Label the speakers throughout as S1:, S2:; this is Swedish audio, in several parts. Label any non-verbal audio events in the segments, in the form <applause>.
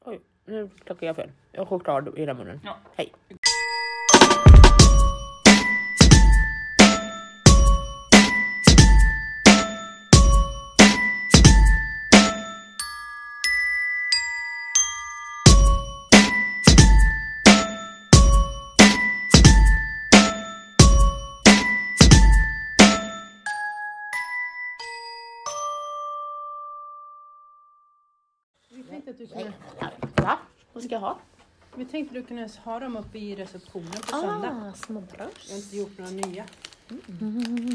S1: Oj, nu plockar jag fel. Jag har choklad i hela munnen.
S2: Ja.
S1: Hej.
S3: Vi tänkte att du kunde,
S1: Va? Vad ska jag ha?
S3: vi tänkte att du kunde ha dem uppe i receptionen på
S2: Ah.
S3: söndag.
S1: små
S3: Jag har
S1: bröst.
S3: inte gjort några nya.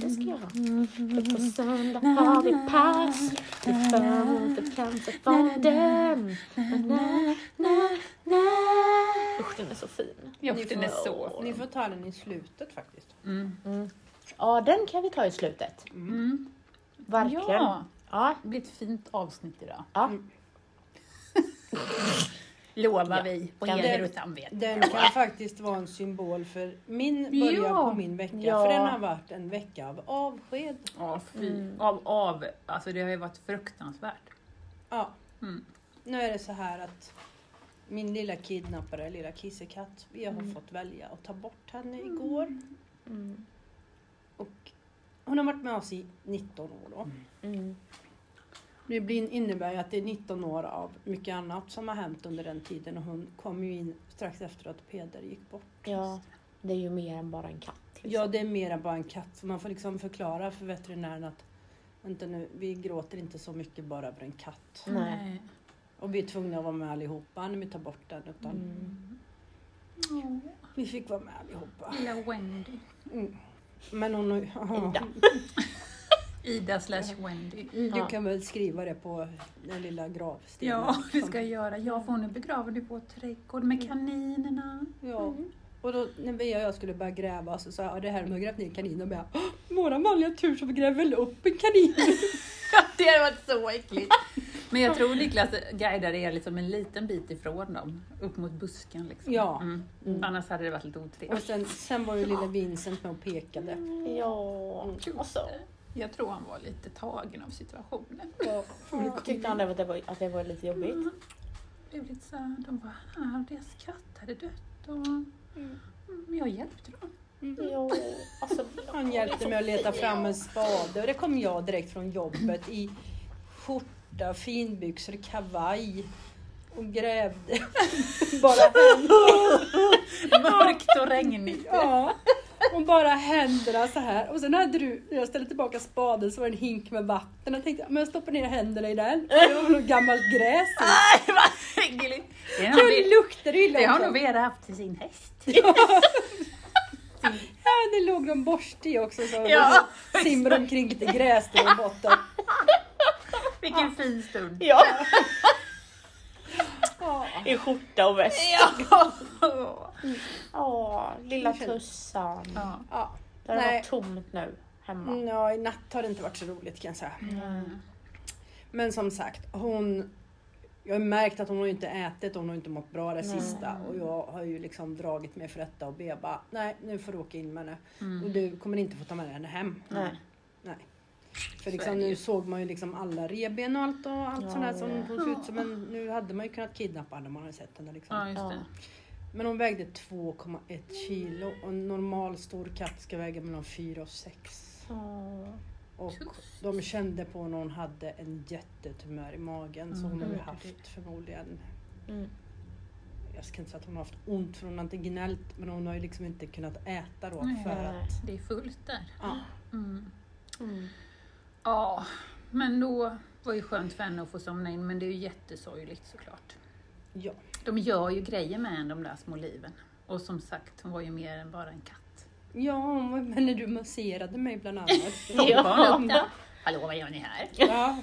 S1: Det ska jag ha. För på söndag har vi pass. Till förmån för cancerfonden. Na, na, na. Usch, den är så fin.
S2: Ja,
S3: Ni
S2: den
S3: får-
S2: är så
S3: Ni
S2: fin.
S3: får ta den i slutet faktiskt.
S2: Mm.
S1: Ja, den kan vi ta i slutet.
S2: Mm.
S1: Verkligen. Ja.
S2: Ja,
S1: ja.
S2: det blir ett fint avsnitt idag.
S1: Ja.
S3: Mm.
S2: <laughs> Lovar vi på
S1: Kan
S2: heder
S3: vi-
S2: och samvete.
S3: Den kan faktiskt vara en symbol för min början
S2: Ja.
S3: på min vecka.
S1: Ja.
S3: För den har varit en vecka av avsked.
S2: Ja, fy.
S1: Mm.
S2: Av, av, alltså det har ju varit fruktansvärt.
S3: Ja.
S2: Mm.
S3: Nu är det så här att min lilla kidnappare, lilla kissekatt, vi har
S1: Mm.
S3: fått välja att ta bort henne igår.
S1: Mm.
S3: Och hon har varit med oss i 19 år då.
S1: Mm.
S3: Det blir- innebär ju att det är 19 år av mycket annat som har hänt under den tiden och hon kom ju in strax efter att Peder gick bort.
S1: ja, det är ju mer än bara en katt. Liksom.
S3: Ja, det är mer än bara en katt. Så man får liksom förklara för veterinären att vänta nu, vi gråter inte så mycket bara över en katt.
S1: Nej.
S3: Och vi är tvungna att vara med allihopa när vi tar bort den. Utan
S1: Mm.
S3: Vi fick vara med allihopa.
S2: Lilla Wendy.
S3: Mm. Men hon...
S1: Ida.
S2: Ida slash Wendy.
S3: Du
S1: Ja.
S3: kan väl skriva det på den lilla gravstenen.
S2: Ja, det
S3: liksom.
S2: ska jag göra. Ja, för hon är begraven i vår trädgård med <laughs> kaninerna.
S3: Ja. Och då när vi och jag skulle börja gräva så sa jag, "Ja, det här med att gräva ner kaniner. Och jag, "Åh, våran vanliga tur som gräver upp en kanin.
S2: Det hade varit så äckligt. <laughs> Men jag tror Niklas guidade er liksom en liten bit ifrån dem, upp mot busken. Liksom.
S3: Ja.
S2: Mm. Annars hade det varit lite otrevligt.
S3: Och sen, sen var ju lilla Vincent med och pekade.
S1: Ja, och
S2: Alltså.
S1: så.
S2: Jag tror han var lite tagen av situationen.
S3: Ja.
S1: Tyckte han att det var, att det var lite jobbigt?
S2: Mm. Det blev lite så här, de bara, här, och deras katt hade dött och mm, jag hjälpte <laughs> dem.
S1: Ja, alltså.
S3: Han hjälpte mig att leta fram en spade och det kom jag direkt från jobbet i skjorta, finbyxor, kavaj och grävde. <laughs> Bara,
S2: Mörkt och regnigt.
S3: ja, och bara händerna så här. Och sen hade du, när jag ställde tillbaka spaden så var det en hink med vatten. Jag tänkte, men jag stoppar ner händerna i den. Det var nog gammalt gräs i.
S2: Nej, vad <laughs> äckligt! Ah, Det har
S3: Det
S2: nog-
S3: luktade illa
S2: Det har
S3: också.
S2: nog Vera haft till sin häst.
S3: Ja, det låg någon borste i också som
S2: Ja.
S3: simmade omkring lite gräs där i botten.
S2: Vilken fin stund.
S1: Ja,
S3: Ja.
S1: i skjorta och väst.
S2: Ja.
S1: Åh, lilla Tussan.
S2: ja.
S3: Ja.
S1: Det har
S3: Nej.
S1: varit tomt nu hemma.
S3: Mm, ja, i natt har det inte varit så roligt kan jag säga.
S2: Mm.
S3: Men som sagt, hon... Jag har märkt att hon har ju inte ätit, hon har inte mått bra det
S1: Nej.
S3: sista. Och jag har ju liksom dragit mig för detta och be bara, nej nu får du åka in med henne.
S2: Mm.
S3: Och du kommer inte få ta med henne hem.
S1: Nej.
S3: Nej.
S2: Så
S3: För
S2: är
S3: liksom,
S2: det ju.
S3: nu såg man ju liksom alla revben och allt och allt
S1: Ja,
S3: sånt där som
S1: ja.
S3: hon såg ut som en... Nu hade man ju kunnat kidnappa henne om man hade sett henne liksom.
S2: Ja, just det.
S3: Men hon vägde 2,1 kilo och en normal stor katt ska väga mellan 4 och 6.
S1: Åh.
S3: Och de kände på när hon hade en jättetumör i magen så hon
S2: Mm.
S3: har ju
S2: Mm.
S3: haft förmodligen,
S1: Mm.
S3: jag ska inte säga att hon har haft ont för hon har inte gnällt men hon har ju liksom inte kunnat äta då
S2: Nej.
S3: för att,
S2: Det är fullt där.
S3: ja.
S2: Mm.
S1: Mm.
S2: Ja, men då var ju skönt för henne att få somna in, men det är ju jättesorgligt såklart.
S3: ja.
S2: De gör ju grejer med en, de där små liven. Och som sagt, hon var ju mer än bara en katt.
S3: Ja, men när du masserade mig bland annat.
S1: <laughs> Ja.
S2: Barn upp där. Hallå, vad gör ni här?
S3: ja.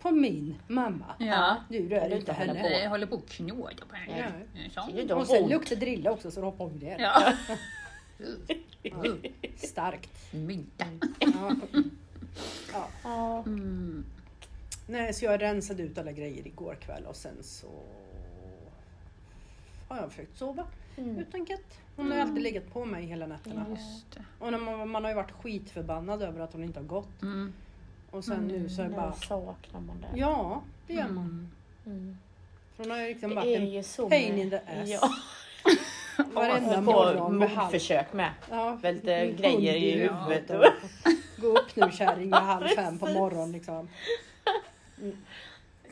S3: På min mamma.
S2: Ja.
S3: Du rör
S1: du
S3: inte
S1: hålla
S3: henne.
S1: på.
S2: Nej, Jag håller på att knåda på henne. Så.
S1: Det är de
S3: Och sen
S1: ont.
S3: luktade det illa också så du hoppade om det.
S2: Ja.
S3: Ja.
S1: <laughs>
S3: Starkt.
S2: Middag.
S3: Ja. Ja.
S1: Ja.
S2: Mm.
S3: Nej, så jag rensade ut alla grejer igår kväll och sen så har jag försökt sova
S1: Mm.
S3: utan katt. Hon har ju alltid legat på mig hela nätterna.
S2: Just det.
S3: Och när man, man har ju varit skitförbannad över att hon inte har gått.
S2: Mm.
S3: Och sen nu så är det
S1: Nu
S3: bara,
S1: saknar man det.
S3: ja det gör man.
S2: Mm.
S1: Mm.
S3: För hon har ju liksom
S1: Det
S3: varit
S1: är
S3: en
S1: ju så
S3: pain in the ass.
S1: Ja.
S3: Varenda
S1: Och på
S3: morgon med halv...
S1: mordförsök med.
S3: Ja,
S1: Väl lite
S3: hund
S1: grejer i
S2: ja.
S1: huvudet.
S3: och-
S1: och-
S3: <laughs> Gå upp nu kärring, jag är halv fem på morgonen liksom.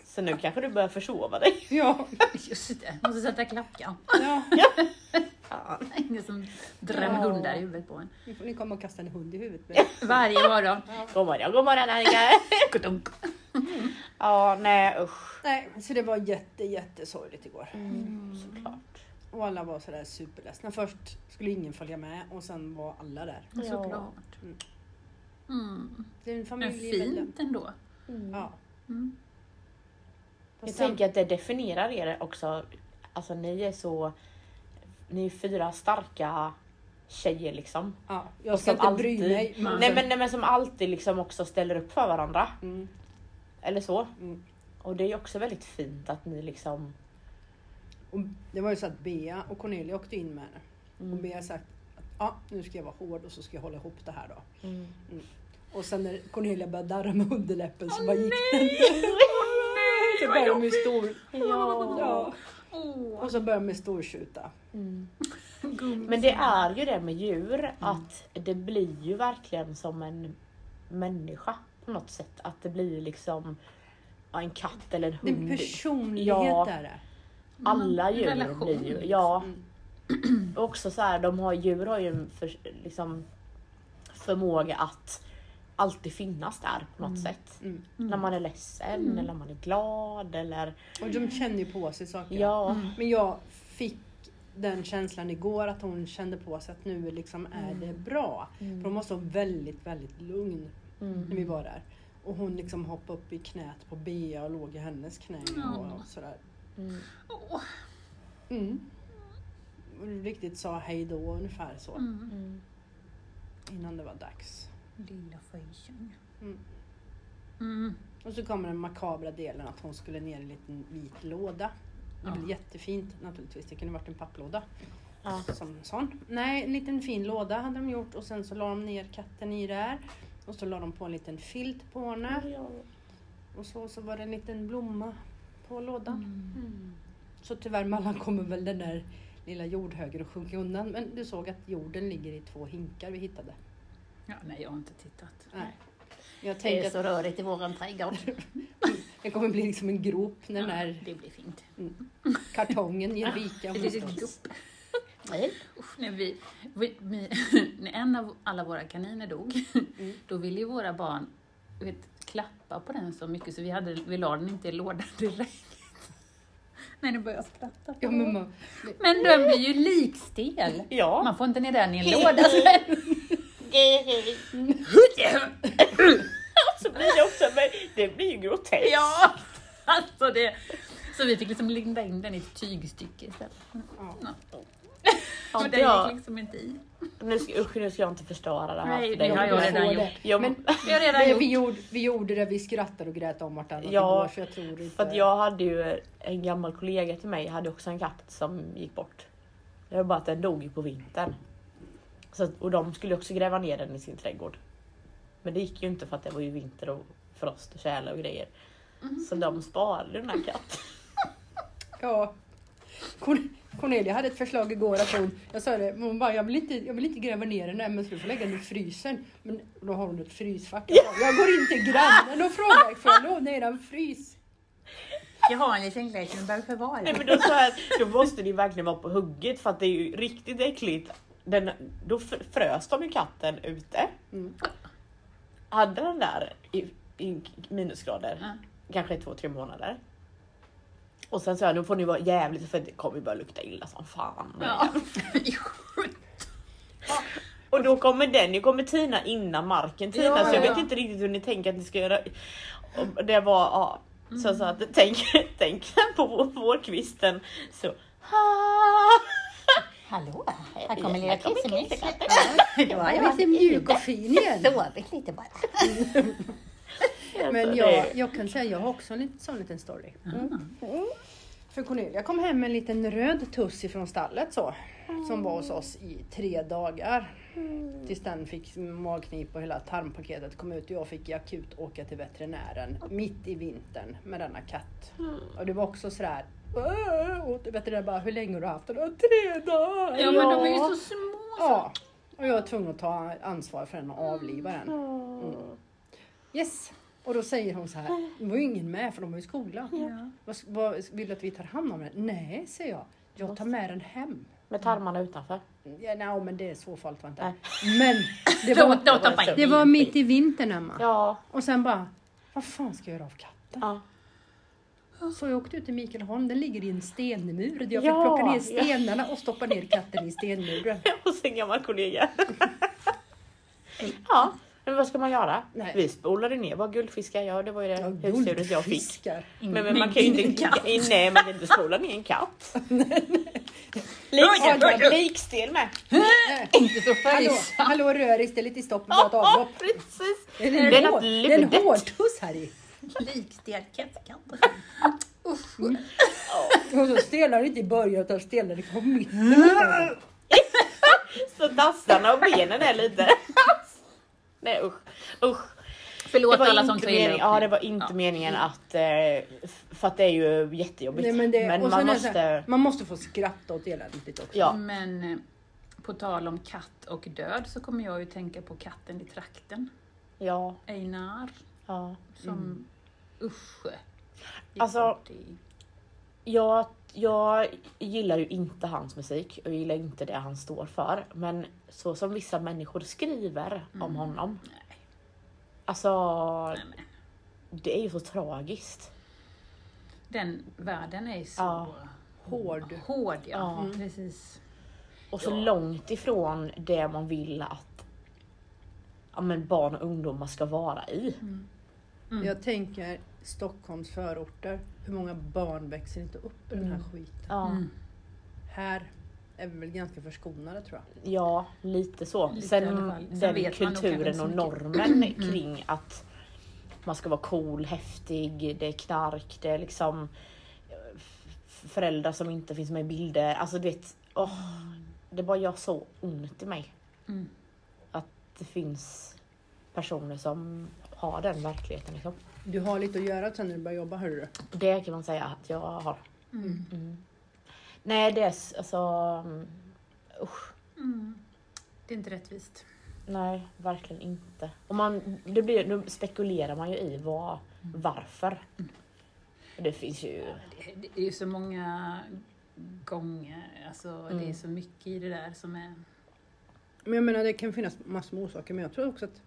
S1: Så nu kanske du börjar försova dig.
S3: Ja,
S2: Just det, måste sätta klackan.
S3: ja.
S2: <laughs> Ingen som drar
S3: Ja.
S2: hundar i huvudet på en.
S3: Nu får ni komma och kasta en hund i huvudet. med.
S2: Varje morgon.
S1: God morgon, god morgon
S3: <laughs>
S1: Annika.
S2: Kutunk.
S1: Ja, nej usch.
S3: Nej, så det var jätte, jättesorgligt igår.
S2: Mm.
S1: Såklart.
S3: Och alla var sådär superledsna. Först skulle ingen följa med och sen var alla där.
S1: Ja.
S2: Såklart. Mm.
S3: Det är en
S2: Men
S3: familj i Bella.
S2: fint ändå.
S3: Ja.
S2: Mm.
S1: Jag tänker att det definierar er också. Alltså ni är så... Ni är fyra starka tjejer liksom.
S3: Ja,
S1: Och
S3: jag ska
S1: som
S3: inte bry
S1: alltid-
S3: mig. men-
S1: Nej men, nej men som alltid liksom också ställer upp för varandra.
S3: Mm.
S1: Eller så.
S3: Mm.
S1: Och det är ju också väldigt fint att ni liksom...
S3: Och det var ju så att Bea och Cornelia åkte in med henne. Och Bea har sagt att ja, nu ska jag vara hård och så ska jag hålla ihop det här då.
S1: Mm. <laughs>
S3: Och sen när Cornelia började darra med underläppen så bara gick det.
S2: Nej! Åh nej,
S3: Så
S2: vad
S3: började de
S2: jobbigt!
S3: ju stor...
S1: Ja.
S3: Ja.
S2: Åh,
S3: Och så började de ju stortjuta.
S1: Mm.
S2: gummis.
S1: Men det är ju det med djur att det blir ju verkligen som en människa på något sätt. Att det blir liksom ja, en katt eller en
S3: Det är en
S1: hund.
S3: personlighet
S1: Ja.
S3: där. är.
S1: Alla
S2: Mm, en
S1: djur
S2: relation,
S1: blir ju,
S2: liksom.
S1: ja.
S3: Mm.
S1: Och också så här, de har, djur har ju en för, liksom, förmåga att alltid finnas där på något sätt.
S3: Mm.
S1: När man är ledsen
S2: Mm.
S1: eller när man är glad eller
S3: Och de känner ju på sig saker.
S1: ja.
S3: Men jag fick den känslan igår att hon kände på sig att nu liksom är det bra.
S2: Mm.
S3: För hon måste vara väldigt, väldigt lugn
S1: Mm.
S3: när vi var där. Och hon liksom hoppade upp i knät på Bea och låg i hennes knä
S2: Ja.
S3: och sådär.
S1: Mm.
S2: Åh,
S3: Mm. Och Riktigt sa hej då ungefär så
S2: mm.
S1: Mm.
S3: innan det var dags.
S2: Lilla fejsing.
S3: Mm.
S2: Mm.
S3: Och så kommer den makabra delen att hon skulle ner i en liten vit låda. Det
S2: Ja.
S3: blev jättefint naturligtvis, det kunde varit en papplåda.
S1: Ja.
S3: Som en sån. Nej, en liten fin låda hade de gjort och sen så la de ner katten i där. Och så la de på en liten filt på henne och så, så var det en liten blomma på lådan.
S1: Mm.
S3: Så tyvärr Mallan kommer väl den där lilla jordhögen att sjunka undan. Men du såg att jorden ligger i två hinkar vi hittade.
S2: Ja, nej, jag har inte tittat.
S3: Nej. Jag tänker att
S2: rörigt i våran trädgård.
S3: det kommer bli liksom en grop när den här
S2: Det blir fint.
S3: kartongen ger vika.
S2: Det blir ett gupp.
S1: Nej.
S2: Usch, när, vi, vi, vi, när en av alla våra kaniner dog,
S3: Mm.
S2: då ville ju våra barn du vet, klappa på den så mycket så vi, hade, vi la den inte i lådan direkt. Nej, nu börjar jag skratta.
S3: Ja, men man,
S2: Men den blir ju likstel.
S1: Ja.
S2: Man får inte ner den i en
S3: <laughs>
S2: låda sen.
S1: <laughs> Så blir det också, men det blir ju groteskt.
S2: Ja, alltså det. Så vi fick liksom linda in den i ett tygstycke istället.
S3: ja.
S1: Ja,
S2: Men
S1: det
S2: den
S1: jag-
S2: gick liksom inte i.
S1: Nu ska, usch, nu ska jag inte förstöra det här
S2: Nej,
S1: för
S2: det
S1: dig.
S2: har jag
S3: Vi
S2: redan
S3: får
S2: gjort.
S3: det.
S1: Jag,
S3: Men-
S2: Vi har redan
S3: Vi,
S2: gjort.
S3: vi, gjorde, vi gjorde det, vi skrattade och grät om vartannat
S1: Ja,
S3: igår så jag tror inte...
S1: för att jag hade ju en gammal kollega till mig, hade också en katt som gick bort. Det var bara att den dog ju på vintern. Så, att- och de skulle också gräva ner den i sin trädgård. Men det gick ju inte för att det var ju vinter och frost och tjäle och grejer. Så de sparade den här katten.
S3: Ja. Corn- Cornelia hade ett förslag igår att hon, jag sa det, men hon bara jag vill inte, jag vill inte gräva ner den här men så du får lägga den i frysen. Men och då har hon ett frysfack. Jag, bara, jag går in till grannen och frågar får jag låna eran frys?
S2: Jag har en liten grej som jag behöver förvara.
S1: Nej men då, så här, då måste ni verkligen vara på hugget för att det är ju riktigt äckligt. Den, då fr- frös de ju katten ute.
S3: Mm.
S1: Hade den där i, i minusgrader,
S2: Ja.
S1: kanske två, tre månader. Och sen sa jag, nu får ni vara jävligt för det kommer ju börja lukta illa som fan.
S2: Ja. <laughs>
S1: Och då kommer den ju kommer tina innan marken tinar
S2: Ja,
S1: så jag
S2: ja,
S1: vet
S2: ja.
S1: inte riktigt hur ni tänker att ni ska göra. Och det var, ja. Så jag sa att
S2: Mm.
S1: tänk, <laughs> tänk på vår- vårkvisten. Så.
S4: Hallå,
S1: här kommer lilla Kissemix.
S4: Det var
S3: Jag är mjuk och fin igen.
S4: sovit lite bara.
S3: Men
S1: Alltså,
S3: jag, jag kan säga jag har också en liten, sån liten story. För Cornelia kom hem med en liten röd tuss ifrån stallet så. Som var hos oss i tre dagar.
S2: Mm.
S3: Tills den fick magknip och hela tarmpaketet kom ut och jag fick i
S2: Mm.
S3: akut åka till veterinären mitt i vintern med denna katt. Och det var också sådär, "Åh", åt det bättre än bara, hur länge har du haft den? "Åh, Tre dagar!
S2: Ja, men de är ju så små.
S3: Ja, och jag är tvungen att ta ansvar för den och avliva den.
S1: Åh.
S3: Yes! Och då säger hon så här, det var ju ingen med för de var ju i skolan.
S2: Ja.
S3: Vad, vad, vill du att vi tar hand om den? Nej, säger jag. Jag tar med den hem.
S1: Med tarmarna utanför.
S3: Ja, nej, men det är så farligt var det inte.
S1: Nej.
S3: Men det
S2: De,
S3: var,
S2: de tappar inte.
S3: det var mitt i vintern Emma.
S1: Ja.
S3: Och sen bara, vad fan ska jag göra av katten?
S1: ja.
S3: Så jag åkte ut till Mikaelholm, den ligger i en stenmur. Jag fick
S1: Ja,
S3: plocka ner
S1: ja.
S3: stenarna och stoppa ner katten i stenmuren.
S1: <laughs> Hos en gammal
S3: <laughs>
S1: kollega. ja. Men vad ska man göra?
S3: Nej.
S1: Vi spolade ner vad guldfiskar gör. Det var ju det husdjuret jag fick.
S3: guldfiskar.
S1: Men, men man kan ju inte...
S2: Ingen katt.
S1: <laughs> Nej, man kan inte spola ner en
S3: <laughs>
S1: katt.
S2: Oj, oj, oj.
S1: Likstel, likstel med.
S3: Nej.
S2: Inte så
S3: Hallå,
S2: färgsam.
S3: hallå röris, det är lite stopp på vårt
S1: Ja,
S3: avlopp.
S1: precis.
S3: Det är
S1: Det är
S3: en,
S1: något
S3: hår, det är en
S1: ludet.
S3: hårtuss här i.
S2: Likstekt kattkatt.
S3: Och så stelnar det inte i början utan stelnar det på
S1: Mm.
S3: mitten.
S1: Så tassarna och benen är lite... <laughs> Nej usch. usch.
S2: Förlåt
S1: var
S2: alla
S1: inte
S2: som tog illa
S1: meningen,
S2: upp
S1: Ja,
S2: nu.
S1: det var inte
S2: Ja.
S1: meningen att... eh, f- För att det är ju jättejobbigt.
S3: Nej, men
S1: men
S3: det, och sen
S1: man
S3: är det så här, Mm.
S1: måste...
S3: man måste få skratta åt eländet lite också.
S1: Ja.
S2: Men eh, på tal om katt och död så kommer jag ju tänka på katten i trakten.
S1: Ja.
S2: Einar
S1: ja.
S2: som usch. gick
S1: Alltså-
S2: bort i-
S1: Jag, jag gillar ju inte hans musik och jag gillar inte det han står för. Men så som vissa människor skriver om honom.
S2: Mm. Nej.
S1: Alltså,
S2: Nej, nej.
S1: det är ju så tragiskt.
S2: Den världen är ju så
S1: Ja.
S3: Hård.
S2: hård. Ja,
S1: Ja.
S2: Mm. precis.
S1: Och så
S2: Ja.
S1: långt ifrån det man vill att ja, men barn och ungdomar ska vara i.
S2: Mm.
S3: Jag tänker Stockholms förorter. Hur många barn växer inte upp i den här skiten?
S1: Ja,
S2: Mm.
S3: Här är vi väl ganska förskonade tror jag.
S1: ja lite så.
S2: Lite i alla
S1: Sen
S2: fall. Sen
S1: den
S2: vet man nog kanske
S1: kulturen
S2: inte
S1: och
S2: så mycket. <clears throat> Mm.
S1: normen kring att man ska vara cool, häftig, det är knark, det är liksom eh, f- föräldrar som inte finns med i bilder. Alltså du vet, åh, det bara gör så ont i mig.
S2: Mm.
S1: Att det finns personer som har den verkligheten liksom.
S3: Du har lite att göra sen när du börjar jobba hörru.
S1: Det kan man säga att jag har.
S2: Mm.
S1: Nej, det är s- alltså... mm, Usch.
S2: Mm. Det är inte rättvist.
S1: Nej, verkligen inte. Och man, det blir, då spekulerar man ju i vad, varför. Och det finns ju...
S2: Det- Det är ju så många gånger, alltså det
S1: Mm.
S2: är så mycket i det där som är...
S3: Men jag menar det kan finnas massor med orsaker men jag tror också att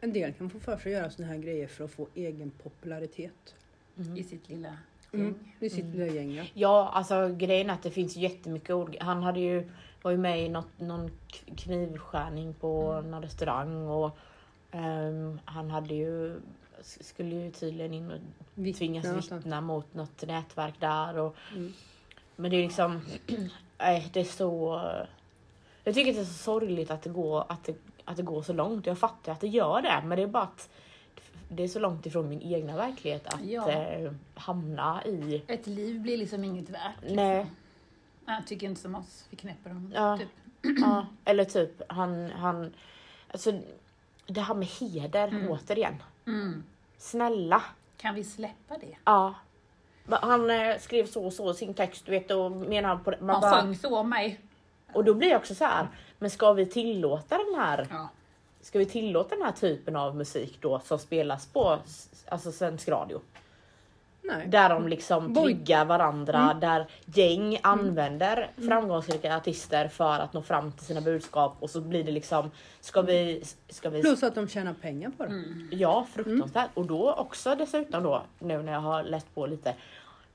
S3: en del kan få för sig att göra sådana här grejer för att få egen popularitet.
S2: i sitt lilla
S3: Mm.
S2: gäng.
S3: Det sitter lilla gäng ja.
S1: Ja, alltså grejen är att det finns ju jättemycket ord. Han hade ju, var ju med i något, någon k- knivskärning på någon restaurang och ehm, han hade ju, s- skulle ju tydligen in och
S3: Vittna
S1: tvingas
S3: någonstans.
S1: vittna mot något nätverk där. Och, Men det är liksom, <clears throat> nej det är så... Jag tycker att det är så sorgligt att det går, att det, att det går så långt. Jag fattar att det gör det, men det är bara att det är så långt ifrån min egna verklighet att
S2: Ja.
S1: eh, hamna i
S2: Ett liv blir liksom inget värt. Liksom.
S1: Nej.
S2: Han tycker inte som oss, vi knäpper honom.
S1: Ja.
S2: Typ.
S1: Ja, <clears throat> eller typ han, han, alltså det här med heder återigen.
S2: Mm.
S1: Snälla.
S2: Kan vi släppa det?
S1: Ja. Men Han eh, skrev så och så i sin text du vet och menar på det. Man
S2: Han
S1: bara,
S2: sjöng så om mig.
S1: och då blir jag också så här. men ska vi tillåta den här,
S2: Ja.
S1: ska vi tillåta den här typen av musik då som spelas på s- alltså svensk radio?
S3: Nej.
S1: Där de liksom
S3: Boy-
S1: triggar varandra, där gäng använder framgångsrika artister för att nå fram till sina budskap och så blir det liksom, ska vi, ska vi
S3: Plus att de tjänar pengar på det.
S2: Mm.
S1: Ja, fruktansvärt. Och då också dessutom då, nu när jag har läst på lite,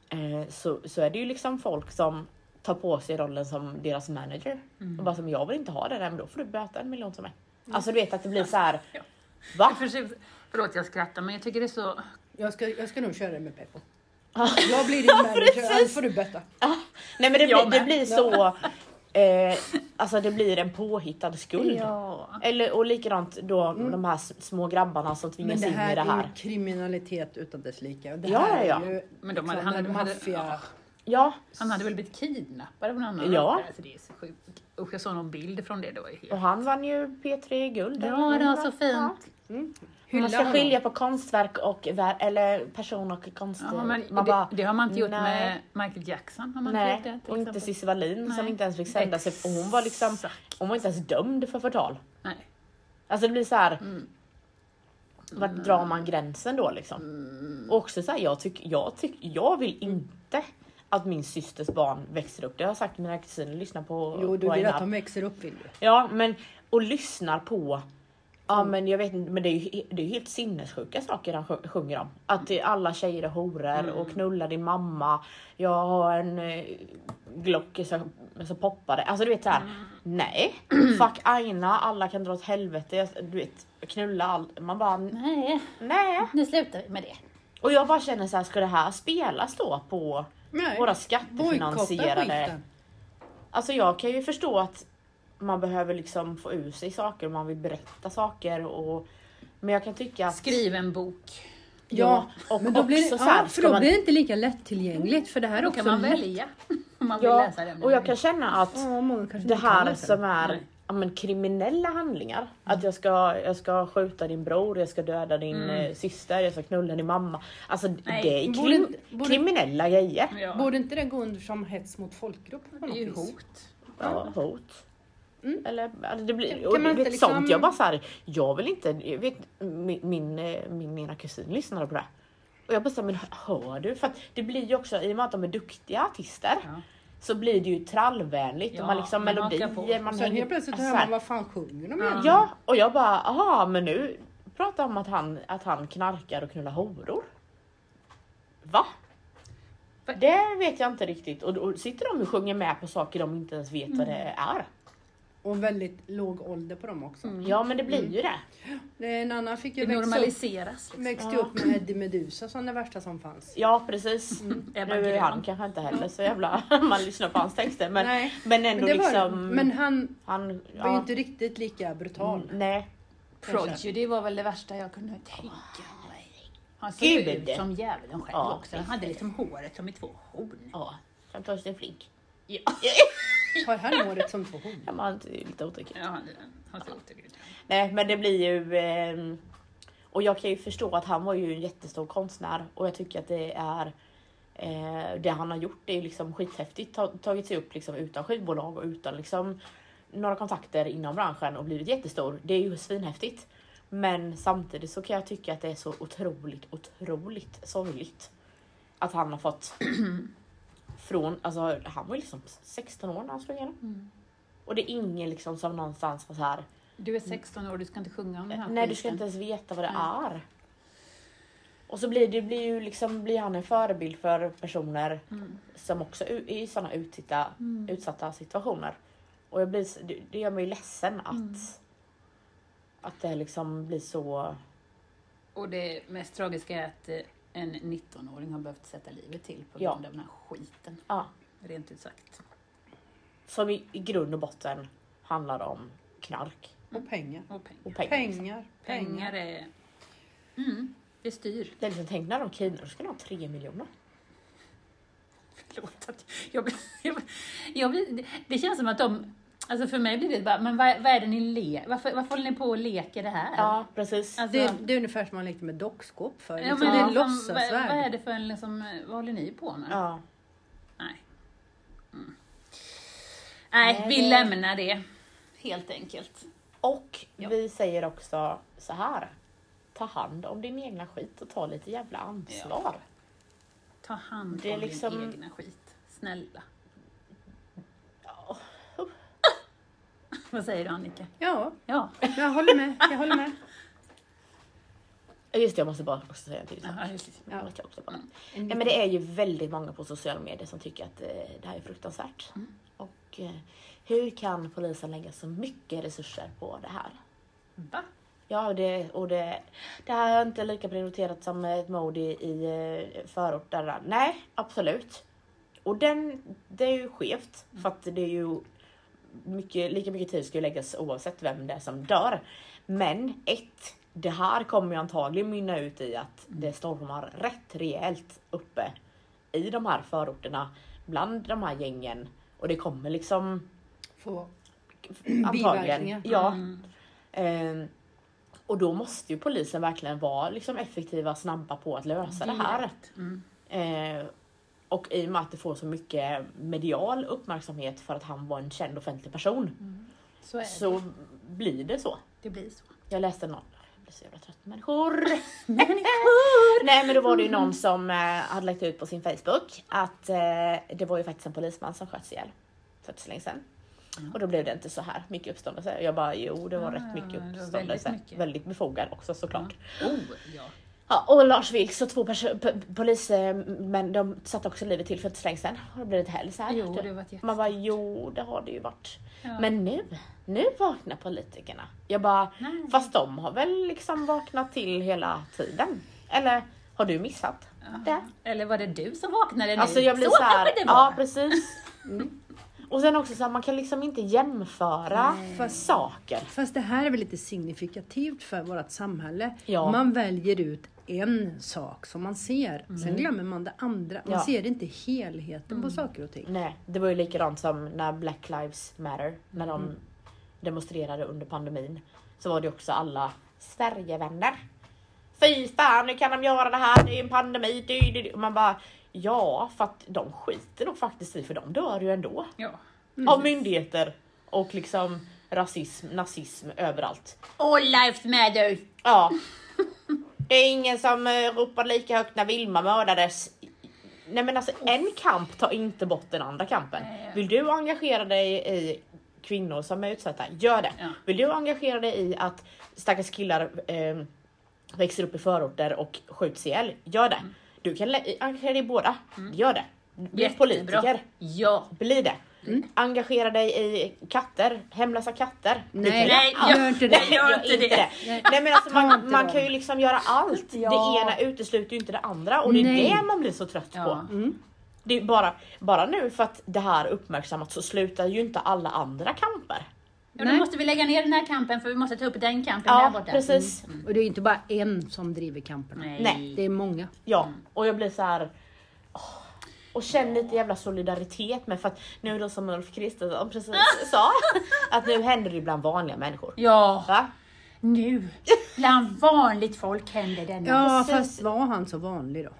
S1: eh, så, så är det ju liksom folk som tar på sig rollen som deras manager.
S2: Mm.
S1: Och bara som jag vill inte ha det där, men då får du böta en miljon som mig. Alltså du vet att det blir så här.
S2: Ja.
S1: Va?
S2: För, förlåt jag skrattar men jag tycker det är så...
S3: Jag ska, jag ska nog köra det med Peppo. Jag blir
S1: <laughs>
S3: din manager, annars får du böta.
S1: Ah, nej men det,
S2: Jag
S1: blir- det
S2: med.
S1: blir så, eh, alltså det blir en påhittad skuld.
S2: Ja. Mm.
S1: Eller, och likadant då de här s- små grabbarna som
S3: Men
S1: tvingas
S3: det
S1: in i
S3: här
S1: det
S3: är ju
S1: här.
S3: kriminalitet utan dess like. Det
S1: Ja, ja,
S3: här är
S1: ja.
S3: ju
S2: Men de hade-
S3: liksom
S2: hade-
S3: en
S2: de hade-
S3: maffia...
S2: ja.
S1: Ja,
S2: Han hade väl blivit kidnappad av någon annan?
S1: Ja.
S2: rackare, Alltså, det är så sjukt. Usch, jag såg någon bild från det. Det var ju
S1: och
S2: helt...
S1: han vann ju P3 Guld.
S2: Ja, det var så
S1: Ja. Mm.
S2: fint.
S1: Man ska skilja på konstverk och ver- eller person och konst.
S2: Ja, men
S1: man
S2: det,
S1: bara,
S2: det har man inte gjort
S1: nej.
S2: med Michael Jackson. Har man
S1: nej,
S2: inte gjort det, till
S1: och inte
S2: exempel.
S1: Cissi Wallin som
S2: Nej.
S1: inte ens fick sända sig. Och hon var liksom,
S2: Exakt.
S1: hon var inte ens dömd för förtal.
S2: Nej.
S1: Alltså det blir så här.
S2: Mm.
S1: Vart drar man gränsen då liksom?
S2: Mm.
S1: Och också så här, jag, tyck, jag, tyck, jag vill inte att min systers barn växer upp. Det har jag sagt till mina kusiner, lyssna på
S2: Ah,
S3: Jo, du
S1: på
S3: vill
S1: Aina.
S3: att de växer upp vill du.
S1: Ja, men och lyssnar på Mm. Ja men jag vet inte, men det är ju, det är ju helt sinnessjuka saker han sjö- sjunger om. Att det- alla tjejer är horor och knulla din mamma. Jag har en eh, Glock som, som poppade. Alltså du vet såhär, <clears throat> nej. Fuck Aina, alla kan dra åt helvete. Jag- Du vet, knulla allt. Man bara,
S2: Nej,
S1: nej.
S2: nu slutar vi med det.
S1: Och jag bara känner såhär, ska det här spelas då på
S3: Nej.
S1: våra
S3: Bojkotta
S1: skattefinansierade
S3: skiten.
S1: Alltså jag kan ju förstå att man behöver liksom få ur sig saker och man vill berätta saker och men jag kan tycka att
S2: Skriv en bok.
S1: Ja,
S3: Ja,
S1: och
S3: men då blir,
S1: också
S3: det,
S1: så här,
S3: ja, för
S1: ska
S3: då
S1: man-
S3: blir det inte lika lättillgängligt för det här är
S2: Då
S3: också
S2: kan man
S3: lätt-
S2: välja <laughs> om man vill
S1: ja,
S2: läsa den.
S1: och jag kan känna att
S3: Ja, många kanske
S1: det
S3: inte kan
S1: här
S3: läsa Mm.
S1: som
S3: det.
S1: är
S2: Nej.
S1: ja, men, kriminella handlingar, att jag ska, jag ska skjuta din bror, jag ska döda din eh, syster, jag ska knulla din mamma. Alltså
S2: Nej,
S1: det är
S3: Mm. borde
S1: krim,
S3: inte- borde-
S1: kriminella grejer.
S2: Ja.
S3: Borde inte det gå under som hets mot folkgrupp? på
S2: Det
S3: något
S2: är ju
S3: vis?
S2: hot.
S1: Ja, hot.
S3: Mm.
S1: Eller, alltså det blir,
S3: Kan-
S1: och
S3: kan man
S1: vet,
S3: inte liksom-
S1: sånt, jag bara såhär, jag vill inte, jag vet, min, min, eh, min ena kusin lyssnade på det. Och jag bara såhär, men hör du? För att det blir ju också, i och med att de är duktiga artister,
S2: Ja.
S1: så blir det ju trallvänligt
S2: Ja,
S1: och man liksom
S2: man hakar
S1: melodier,
S2: på.
S1: man
S3: Sen helt plötsligt
S1: alltså
S3: hör
S1: så här.
S3: man vad fan sjunger de
S2: Ja.
S3: egentligen?
S1: Ja, och jag bara, aha men nu pratar de om att han, att han knarkar och knullar horor. Va?
S2: Va?
S1: Det vet jag inte riktigt och då sitter de och sjunger med på saker de inte ens vet vad det
S3: Mm.
S1: är.
S3: Och väldigt låg ålder på dem också.
S1: Ja men det blir ju
S3: Mm.
S1: det.
S3: Det är En annan fick ju
S2: Mm. Det
S3: växa upp,
S2: normaliseras. Liksom.
S3: växte upp med Eddie Meduza som det värsta som fanns.
S1: Ja precis.
S3: Mm.
S2: Ebba
S1: Nu är
S2: Grön.
S1: han kanske inte heller så jävla, <laughs> man lyssnar på hans texter men,
S3: Nej,
S1: men ändå
S3: Men, det var,
S1: liksom.
S3: men han
S1: han,
S3: var ju inte riktigt lika brutal.
S2: Mm.
S1: Nej.
S2: Prodigy, det var väl det värsta jag kunde tänka mig. Han såg
S1: Gud.
S2: ut som djävulen själv
S1: Ja.
S2: också. Han hade liksom håret som i två horn.
S1: Ja. Som Torsten Flink.
S2: Ja,
S3: Har han håret som två horn?
S1: Ja, man är lite otäck.
S2: ja han, han såg otäck ut.
S1: Nej men det blir ju ehm, och jag kan ju förstå att han var ju en jättestor konstnär och jag tycker att det är eh, det han har gjort är ju liksom skithäftigt. Ta, tagit sig upp liksom utan skivbolag och utan liksom några kontakter inom branschen och blivit jättestor. Det är ju svinhäftigt. Men samtidigt så kan jag tycka att det är så otroligt, otroligt sorgligt att han har fått <clears throat> från, alltså han var ju liksom 16 år när han slog igenom. Och det är ingen liksom som någonstans var så här
S2: Du är 16 år, du ska inte sjunga om den här
S1: Nej du ska
S2: skiten.
S1: inte ens veta vad det är. Och så blir, det blir, ju liksom, blir han en förebild för personer
S2: Mm.
S1: som också u- är i sådana utsatta, utsatta situationer. Och jag blir, s- det, det gör mig ju ledsen att,
S2: Mm.
S1: att det liksom blir så...
S2: Och det mest tragiska är att eh, en 19-åring har behövt sätta livet till på
S1: Ja.
S2: grund av den här skiten.
S1: Ja,
S2: Rent ut sagt.
S1: som i, i grund och botten handlar om knark
S3: Och pengar.
S2: Och pengar. liksom.
S1: och pengar.
S3: Pengar.
S2: Pengar är... Mm, det styr.
S1: Det är liksom, tänk när de kidnappar, då ska de ha tre miljoner.
S2: Förlåt att jag blir, jag blir, jag blir, det- det känns som att de, alltså för mig blir det bara, men vad, vad är det ni le, varför, varför håller ni på och leker det här?
S1: Ja precis.
S2: Alltså,
S3: Det, det är ungefär som man lekte med dockskåp förr.
S2: ja,
S3: Liksom.
S2: men
S3: det är en
S2: liksom, vad, vad är
S3: låtsasvärld.
S2: det för en, liksom, vad håller ni på med?
S1: Ja.
S2: Nej. Mm. Nej,
S1: Nej,
S2: vi
S1: det-
S2: lämnar det. Helt enkelt.
S1: Och
S2: Ja.
S1: vi säger också så här. Ta hand om din egna skit och ta lite jävla ansvar.
S2: Ta hand
S1: Det är
S2: om
S1: liksom-
S2: din egna skit. Snälla. <laughs> Vad säger du Annika?
S3: Ja,
S2: <laughs> Ja,
S3: jag håller med. Jag håller
S2: <laughs>
S3: med.
S1: Just det, jag måste bara också säga en till sak.
S2: ja Mm. just det.
S1: Jag måste också bara. Nej, men det är ju väldigt många på sociala medier som tycker att eh, det här är fruktansvärt.
S2: Mm.
S1: Och eh, hur kan polisen lägga så mycket resurser på det här?
S2: Va?
S1: Ja, och det, och det, det här är inte lika prioriterat som ett mord i, i eh, förort. Där, där. Nej, absolut. Och den, det är ju skevt för att det är ju mycket, lika mycket tid ska ju läggas oavsett vem det är som dör. Men ett, det här kommer ju antagligen mynna ut i att det stormar rätt rejält uppe i de här förorterna bland de här gängen. Och det kommer liksom
S3: Få Biverkningar.
S1: antagligen. Ja.
S2: Mm.
S1: Ehm, och då måste ju polisen verkligen vara liksom effektiva och snabba på att lösa det här.
S2: Mm.
S1: Eh, och i och med att det får så mycket medial uppmärksamhet för att han var en känd offentlig
S2: Mm.
S1: person
S2: Så är det.
S1: så blir det så.
S2: Det blir så. <laughs>
S1: Jag läste någon, jag blir så jävla trött på människor. Nej men då var det ju någon som eh, hade lagt ut på sin Facebook att eh, det var ju faktiskt en polisman som sköts ihjäl för inte så länge sedan.
S2: Mm.
S1: Och då blev det inte så här mycket uppståndelse. Och Jag bara jo det var
S2: Ah,
S1: rätt mycket
S2: det var väldigt
S1: uppståndelse.
S2: mycket.
S1: väldigt befogad också såklart.
S2: <laughs> Oh, ja.
S1: Ja, och Lars Vilks och två perso- p- polismän de satte också livet till för inte så länge sedan. Och då blir det inte heller så här.
S2: Jo,
S1: Du-
S2: det var ett jätte...
S1: Man bara jo det har det ju varit.
S2: Ja.
S1: Men nu, nu vaknar politikerna. Jag bara
S2: Nej.
S1: fast de har väl liksom vaknat till hela tiden. Eller har du missat?
S2: Ja. Eller var det du som vaknade nu?
S1: Alltså jag blir
S2: så
S1: så, här,
S2: kanske det
S1: ja
S2: var.
S1: precis. Mm. Och sen också så här, man kan liksom inte jämföra saker.
S3: Fast det här är väl lite signifikativt för vårt samhälle.
S1: Ja.
S3: Man väljer ut en sak som man ser,
S2: Mm.
S3: sen glömmer man det andra. Man
S1: Ja.
S3: ser inte helheten på saker och ting.
S1: Nej, det var ju likadant som när Black Lives Matter, när de demonstrerade under pandemin. Så var det också alla Sverigevänner. Fy fan, nu kan de göra det här, det är en pandemi. dy, dy, dy. Och Man bara, ja, för att de skiter nog faktiskt i, för de dör ju ändå.
S2: Ja.
S1: Av myndigheter och liksom rasism, nazism överallt.
S2: All lives matter!
S1: Ja. Det är ingen som eh, ropar lika högt när Vilma mördades. Nej men alltså en kamp tar inte bort den andra kampen.
S2: Nej.
S1: Vill du engagera dig i kvinnor som är utsatta, gör det.
S2: Ja.
S1: Vill du engagera dig i att stackars killar eh, växer upp i förorter och skjuts ihjäl, gör
S2: Mm.
S1: det. Du kan le- engagera dig i båda, gör det. Bli politiker,
S2: Ja.
S1: bli det.
S2: Mm.
S1: Engagera dig i katter, hemlösa katter. Du
S3: Nej,
S1: kan
S2: Nej,
S1: göra
S3: gör
S2: jag-
S3: inte
S1: Nej,
S3: det.
S2: Gör
S1: gör
S2: inte
S1: inte
S2: det.
S1: det.
S3: Nej.
S1: Nej men alltså
S3: Ta inte
S1: man, man
S3: det.
S1: kan ju liksom göra allt.
S3: Ja.
S1: Det ena utesluter ju inte det andra och det är
S3: Nej.
S1: det man blir så trött
S2: Ja.
S1: på. Det är bara, bara nu för att det här uppmärksammas så slutar ju inte alla andra kamper.
S2: Ja, då
S3: Nej.
S2: måste vi lägga ner den här kampen för vi måste ta upp den kampen där
S1: Ja
S2: borta. Mm.
S1: precis.
S3: Och det är inte bara en som driver kamperna.
S2: Nej.
S1: Nej.
S3: Det är många.
S1: Ja och jag blir så här. åh, Och känner lite jävla solidaritet med för att nu då som Ulf Kristersson
S2: <laughs>
S1: precis sa att nu händer det ju bland vanliga människor.
S2: Ja,
S1: Va?
S2: nu bland vanligt folk händer denna.
S3: Ja,
S1: Precis.
S3: fast var han så vanlig då?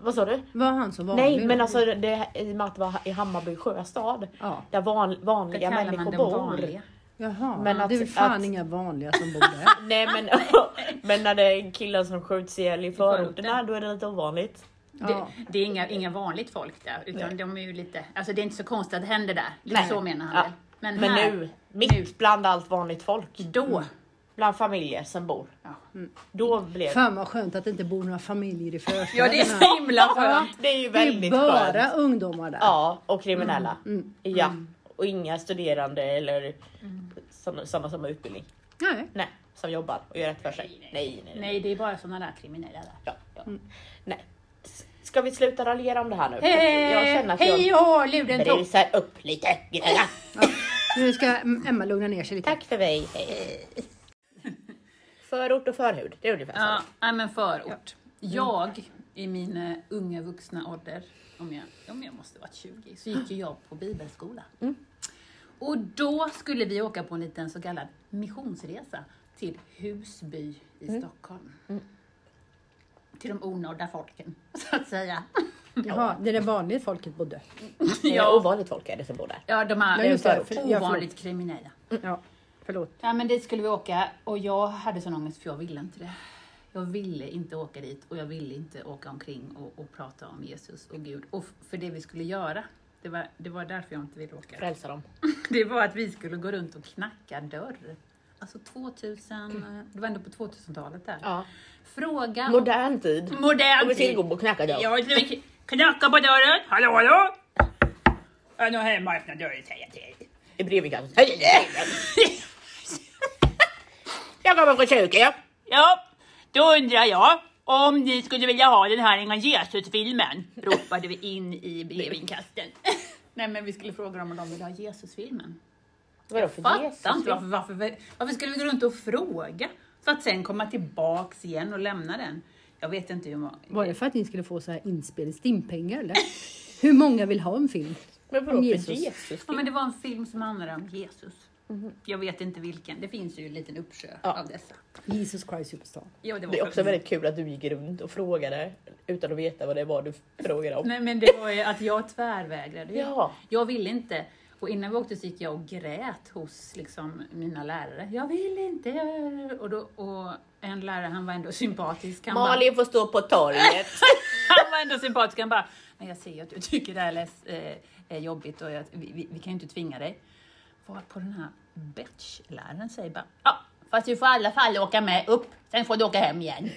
S1: Vad sa du?
S3: Var han så vanlig
S1: Nej
S3: då?
S1: men alltså det, i och med att det var i Hammarby sjöstad
S3: Ja.
S1: där van,
S2: Där
S1: vanliga
S2: kallar man
S1: människor
S2: dem
S1: bor.
S2: vanliga.
S3: Jaha,
S1: Men
S3: det är
S1: att-
S3: väl fan
S1: att-
S3: inga vanliga som
S1: <laughs>
S3: bor där.
S1: Nej men, <laughs> men när det är killar som skjuts ihjäl i förorterna då är det lite ovanligt.
S3: Ja.
S2: Det, det är inga, inga vanligt folk där, utan de är ju lite, alltså det är inte så konstigt att det händer där. Lite
S1: Nej.
S2: så menar han
S1: Ja.
S2: väl. Men,
S1: Men
S2: här,
S1: nu, mitt
S2: nu.
S1: bland allt vanligt folk,
S2: då.
S1: bland familjer som bor.
S2: Ja.
S1: Mm. Då blev
S3: Fan vad skönt att det inte bor några familjer i förstäderna.
S2: Ja, det är så himla skönt.
S1: det är ju
S3: Det är
S1: väldigt
S3: bara
S1: skönt.
S3: ungdomar där.
S1: Ja, och kriminella. Ja, och inga studerande eller sådana, sådana som har utbildning.
S3: Nej.
S1: Nej, som jobbar och gör rätt för sig. Nej, nej, nej.
S2: Nej, det är bara sådana där kriminella där.
S1: Ja, ja. nej. S- Ska vi sluta raljera om det här nu? För att jag känner
S2: Hej,
S1: att
S2: hej
S1: jag
S2: och luren tog.
S1: brusar upp lite.
S3: Nu ska Emma lugna ner sig lite.
S1: Tack för mig, hej. <laughs> Förort och förhud, det är ungefär så.
S2: Ja, nej, men förort.
S3: Mm.
S2: Jag, i min eh, unga vuxna ålder, om jag, om jag måste varit 20, så gick ju jag på bibelskola.
S3: Mm.
S2: Och då skulle vi åka på en liten så kallad missionsresa till Husby i
S3: Mm.
S2: Stockholm. Till de onådda folken, så
S3: <laughs>
S2: att säga.
S3: Jaha, det är det vanliga folket bodde.
S1: Det är ovanligt folk är det som bor där.
S2: Ja, de
S3: Ja,
S2: här
S3: just det. För- ja,
S2: ovanligt kriminella.
S1: Mm.
S3: Ja, förlåt.
S2: Ja, men dit skulle vi åka och jag hade sån ångest för jag ville inte det. Jag ville inte åka dit och jag ville inte åka omkring och, och prata om Jesus och Gud. Och f- för det vi skulle göra, det var, det var därför jag inte ville åka. <laughs>
S1: Frälsa dem.
S2: Det var att vi skulle gå runt och knacka dörr. Alltså 2000, eh, det var ändå på 2000-talet där.
S1: Mm. Ja.
S2: Fråga...
S1: Modern tid.
S2: Modern
S1: Om vi
S2: tid.
S1: tillgår på knäckadörr.
S2: Ja, det är- knacka på dörren. Hallå, hallå! Är någon hemma? Öppna dörren, säger jag till <laughs> dig.
S1: I brevinkastet. Hej, hej, hej. Jag kommer från kyrkan. ja.
S2: Ja, då undrar jag om ni skulle vilja ha den här Inga Jesus-filmen? Ropade vi in i brevinkasten. <laughs> Nej, men vi skulle fråga dem om de ville ha Jesus-filmen.
S1: Vadå för
S2: Fattar
S1: Jesus?
S2: inte varför, varför, vi- varför skulle vi gå runt och fråga? För att sen komma tillbaks igen och lämna den. Jag vet inte hur många...
S3: Var det för att ni skulle få så här inspelningstimpengar eller? Hur många vill ha en film?
S1: Men vadå för
S3: Jesus.
S1: Jesus?
S2: Ja, men det var en film som handlade om Jesus. Jag vet inte vilken. Det finns ju en liten uppsjö
S1: Mhm. Ja.
S2: av dessa.
S3: Jesus Christ Superstar.
S2: Ja, det, var
S1: Det är också
S2: faktiskt-
S1: väldigt kul att du gick runt och frågade utan att veta vad det var du frågade om.
S2: Nej, men det var ju att jag tvärvägrade. ju.
S1: Ja,
S2: Jag ville inte. Och innan vi åkte så gick jag och grät hos liksom, mina lärare. Jag vill inte. jag- Och, då, och en lärare, han var ändå sympatisk. Han bara,
S1: Malin får stå på
S3: <laughs>
S1: torget.
S2: <laughs> Han var ändå sympatisk. Han bara, men jag ser ju att du tycker det här är, läs, eh, är jobbigt och jag, vi, vi, vi kan ju inte tvinga dig. Var på den här bitch-läraren säger bara, ja, fast du får i alla fall åka med upp, sen får du åka hem igen.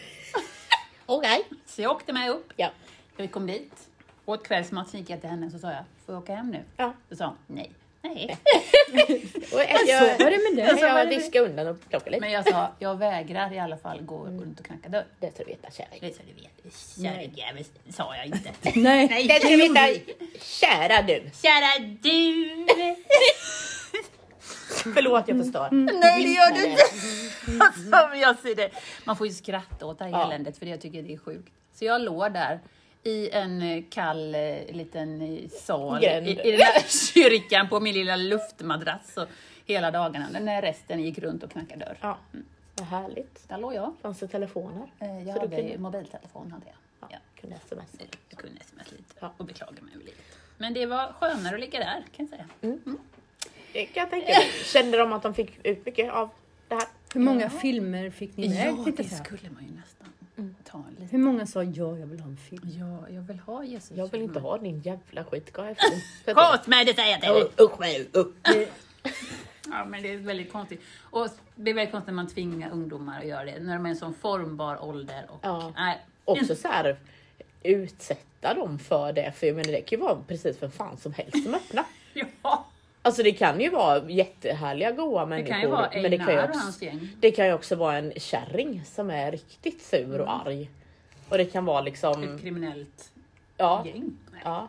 S1: Okej.
S2: Så jag åkte med upp.
S1: Ja.
S2: Jag kom dit, åt kvällsmat, sen gick jag till henne och så sa jag, får jag åka hem nu?
S1: Ja.
S2: Då sa hon, nej. Nej.
S1: Och jag,
S3: Så var
S1: jag,
S3: det med det.
S1: jag, jag diskade undan och plockade lite.
S2: <laughs> Men jag sa, jag vägrar i alla fall gå runt och knacka dörr.
S1: Det ska du veta kära.
S2: Det sa Mm. du vet, kärringjävel, sa jag inte.
S3: Nej.
S2: <laughs> Nej,
S1: Det ska du veta kära du.
S2: kära du.
S1: Förlåt jag förstår.
S2: <laughs> Nej, det gör du inte. <laughs> Alltså, men jag ser det. Man får ju skratta åt det här
S1: Ja.
S2: eländet för jag tycker det är sjukt. Så jag låg där i en eh, kall eh, liten eh, sal i,
S1: Gränd.
S2: i den här <laughs> kyrkan på min lilla luftmadrass och hela dagarna när resten gick runt och knackade dörr.
S1: Ja. Vad härligt.
S2: Där låg jag.
S1: Fanns det telefoner?
S2: Eh, Jag
S1: Så du
S2: hade
S1: kunde-
S2: ju mobiltelefon hade jag.
S1: Ja.
S2: Ja. Eh.
S1: Kunde sms.
S2: Jag kunde sms lite
S1: Ja.
S2: och beklaga mig över livet. Men det var skönare att ligga där kan jag säga.
S1: Det kan jag tänka mig. Kände de att de fick ut mycket av det här?
S3: Hur många filmer fick ni med?
S2: Ja,
S3: tänkte
S2: det
S3: jag säga.
S2: skulle man ju nästan ta en liten.
S3: Hur många sa ja, jag vill ha en film?
S2: Ja, jag vill ha Jesus.
S1: Jag vill inte
S2: filmer.
S1: ha din jävla skit. Gå härifrån.
S2: Kort med det säger jag till dig.
S1: Usch med dig, usch.
S2: Ja, men det är väldigt konstigt. Och det är väldigt konstigt när man tvingar ungdomar att göra det, när de är i en sån formbar ålder. Och,
S1: Ja.
S2: nej,
S1: Också så här utsätta dem för det. För jag menar det kan ju vara precis vem fan som helst som öppnar.
S2: <laughs> ja,
S1: Alltså det kan ju vara jättehärliga goa
S2: det
S1: människor.
S2: kan ju vara
S1: men det kan ju
S2: Einar och
S1: också
S2: hans gäng.
S1: Det kan ju också vara en kärring som är riktigt sur och
S2: Mm.
S1: arg. Och det kan vara liksom,
S2: Ett kriminellt
S1: ja.
S2: gäng. Nej.
S1: ja.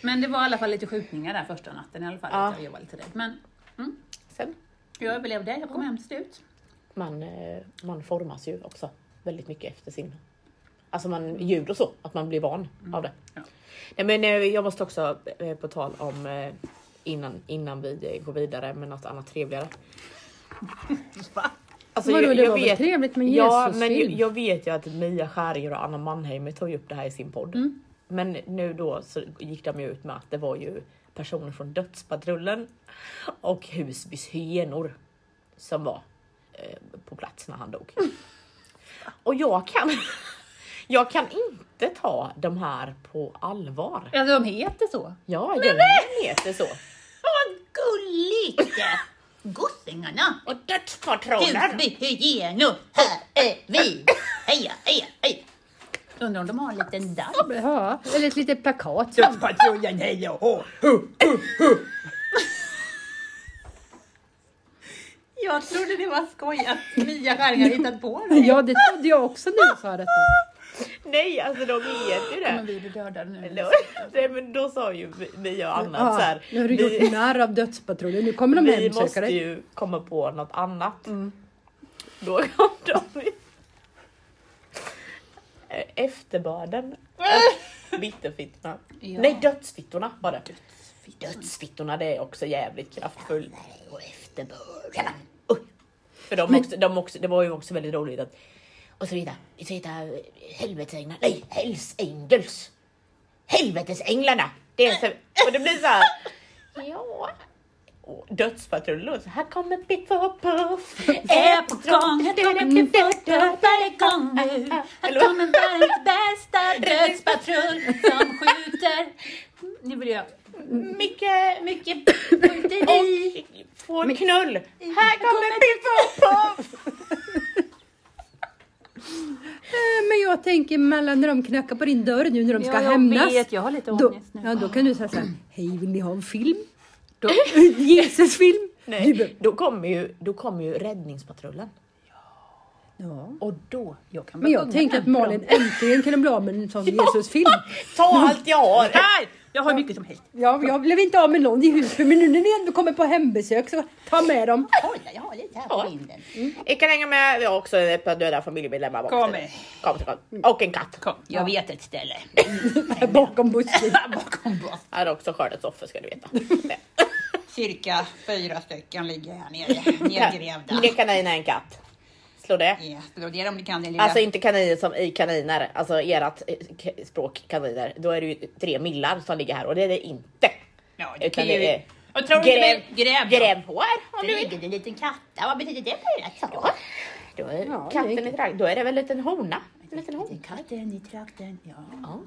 S2: Men det var i alla fall lite skjutningar där första natten i alla fall.
S1: Ja.
S2: att Jag var lite rädd. Men
S1: Sen,
S2: jag överlevde, jag kom hem till slut.
S1: man, eh, man formas ju också väldigt mycket efter sin, alltså man, ljud och så, att man blir van av det.
S2: Ja.
S1: Nej men eh, jag måste också, eh, på tal om, eh, innan, innan vi eh, går vidare med något annat trevligare. Alltså, jag,
S3: Vadå, det var
S1: jag
S3: väl
S1: vet
S3: trevligt med
S1: Ja,
S3: Jesus
S1: men jag,
S3: film?
S1: jag vet ju att Mia Skäringer och Anna Mannheimer tog ju upp det här i sin podd. Men nu då så gick de ju ut med att det var ju personer från Dödspatrullen och Husbys hyenor som var eh, på plats när han dog. Och jag kan, <laughs> jag kan inte ta de här på allvar.
S2: Ja, de heter så.
S1: Ja, jag heter så.
S2: Vad gulligt! Gossingarna
S1: Och Dödspatrullen!
S2: Husby hyenor, här är vi! Heja, heja, heja! Undrar om de har en liten dans?
S3: Ja, eller ett litet plakat.
S2: Dödspatrullen, hej och hå! Jag trodde det var skoj att Mia Skäringer hittat på det.
S3: Ja, det trodde jag också när du sa detta.
S1: Nej, alltså de vet ju det.
S2: Men vi blir dödade nu.
S1: Då, <laughs> nej men då sa ju Mia och Anna att så
S3: Ja,
S1: här,
S3: nu har du
S1: vi-
S3: gjort narr av Dödspatrullen, nu kommer de
S1: Vi
S3: hemsöka
S1: måste
S3: dig.
S1: ju komma på något annat.
S3: Mm.
S1: Då <laughs> kom de ju- Eh, Efterbörden.
S2: Äh.
S1: Eh, Bitterfittorna.
S2: Ja.
S1: Nej, dödsfittorna var det. Dödsfittorna, det är också jävligt kraftfullt. Och efterbörden. Oj. För de också, de också, det var ju också väldigt roligt att
S4: Och så vidare. Så
S1: eh,
S4: heter helvetesänglar. Nej, Hells Angels. Helvetesänglarna.
S1: det är så, och det blir så här. Ja. Och Dödspatrullen, så här kommer Piff och <laughs> Puff.
S2: Är på gång, här kommer bli dödare igång nu. Här kommer världens bästa dödspatrull som skjuter. <laughs> Nu blir jag
S1: Mycket
S2: mycket punkter i.
S1: och får knull. Här kommer Piff och Puff!
S3: Eh, Men jag tänker mellan när de knackar på din dörr nu när de ska hämnas.
S2: jag har lite
S3: Då, ja, då kan du säga såhär, hej vill ni ha en film? Jesusfilm?
S1: Nej, då kommer ju, då kommer ju räddningspatrullen.
S3: Ja.
S1: Och då,
S2: Jag kan
S3: Men
S2: börja
S3: jag
S2: sjunga
S3: tänker att
S2: den. Mm.
S3: Malin äntligen kan de bli av med en sån Jesusfilm.
S1: ta allt jag har!
S2: Här!
S5: Jag har mycket som helst.
S3: Ja, jag blev inte av med någon i huset men nu när ni ändå kommer på hembesök så ta med dem.
S1: Oj, jag har lite här på vinden. Mm. Jag kan hänga med, vi har också ett par döda familjemedlemmar bakom
S6: Kom
S1: stället. Kom, kom. Och en katt.
S6: Kom.
S1: Jag vet ett ställe.
S3: Bakom busken.
S6: Bakom bas.
S1: Här är också skördets offer ska du
S2: <laughs>
S1: veta.
S2: Cirka fyra stycken ligger här nere,
S1: <laughs>
S2: nedgrävda.
S1: Det kaniner är en katt. Slå det.
S2: Ja, Brodera om ni kan det lilla.
S1: Alltså inte kaniner som i kaniner, alltså erat eh, k- språk kaniner. Då är det ju tre millar som ligger här och det är det inte.
S2: ja, det
S1: Utan
S2: kan ju...
S1: det är
S2: Jag tror
S1: gräv,
S2: inte vi... Gräv! då.
S1: grävhår om du
S2: Det
S1: vill.
S2: ligger en liten katt där. Vad betyder det på ert
S1: Ja, då är
S3: Ja, det är
S1: katten i trakt. Då är det väl en liten hona. En liten hona.
S2: Katten i trakten, ja.
S1: Ja.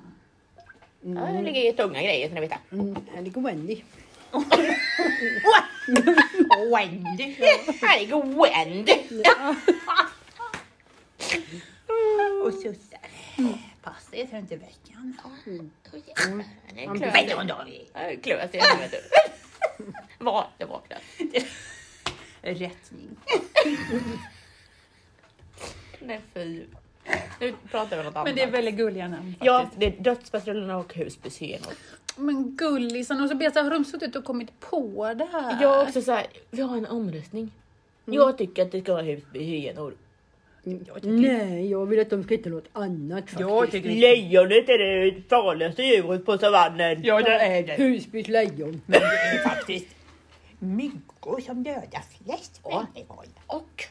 S1: Ja, det ligger ju tunga grejer som ni vet.
S3: Mm, här ligger Wendy.
S2: Wendy!
S1: Här ligger Wendy.
S2: Och sossar. Passa er så inte veckan.
S1: Mm. Den är klösig.
S2: Vet du vad då vi?
S1: Den är Klösig, jag vet inte. Var det var klösig.
S2: Rättning.
S1: Nej fy. Nu pratar vi om något
S6: Men det är
S1: annat.
S6: väldigt gulliga namn.
S1: Ja, det är dödspatrullerna och husbysyenor.
S6: Men gullisarna, och så Beta, har de suttit och kommit på det här?
S1: Jag är också så här, vi har en omröstning. Jag tycker att det ska vara husbysyenor.
S3: Nej, jag vill att de ska hitta något annat faktiskt.
S6: Jag tycker det.
S1: Lejonet är det farligaste djuret på savannen.
S6: Ja, det är det.
S3: Husbys lejon.
S2: Faktiskt. Myggor som dödar flest människor.
S1: Och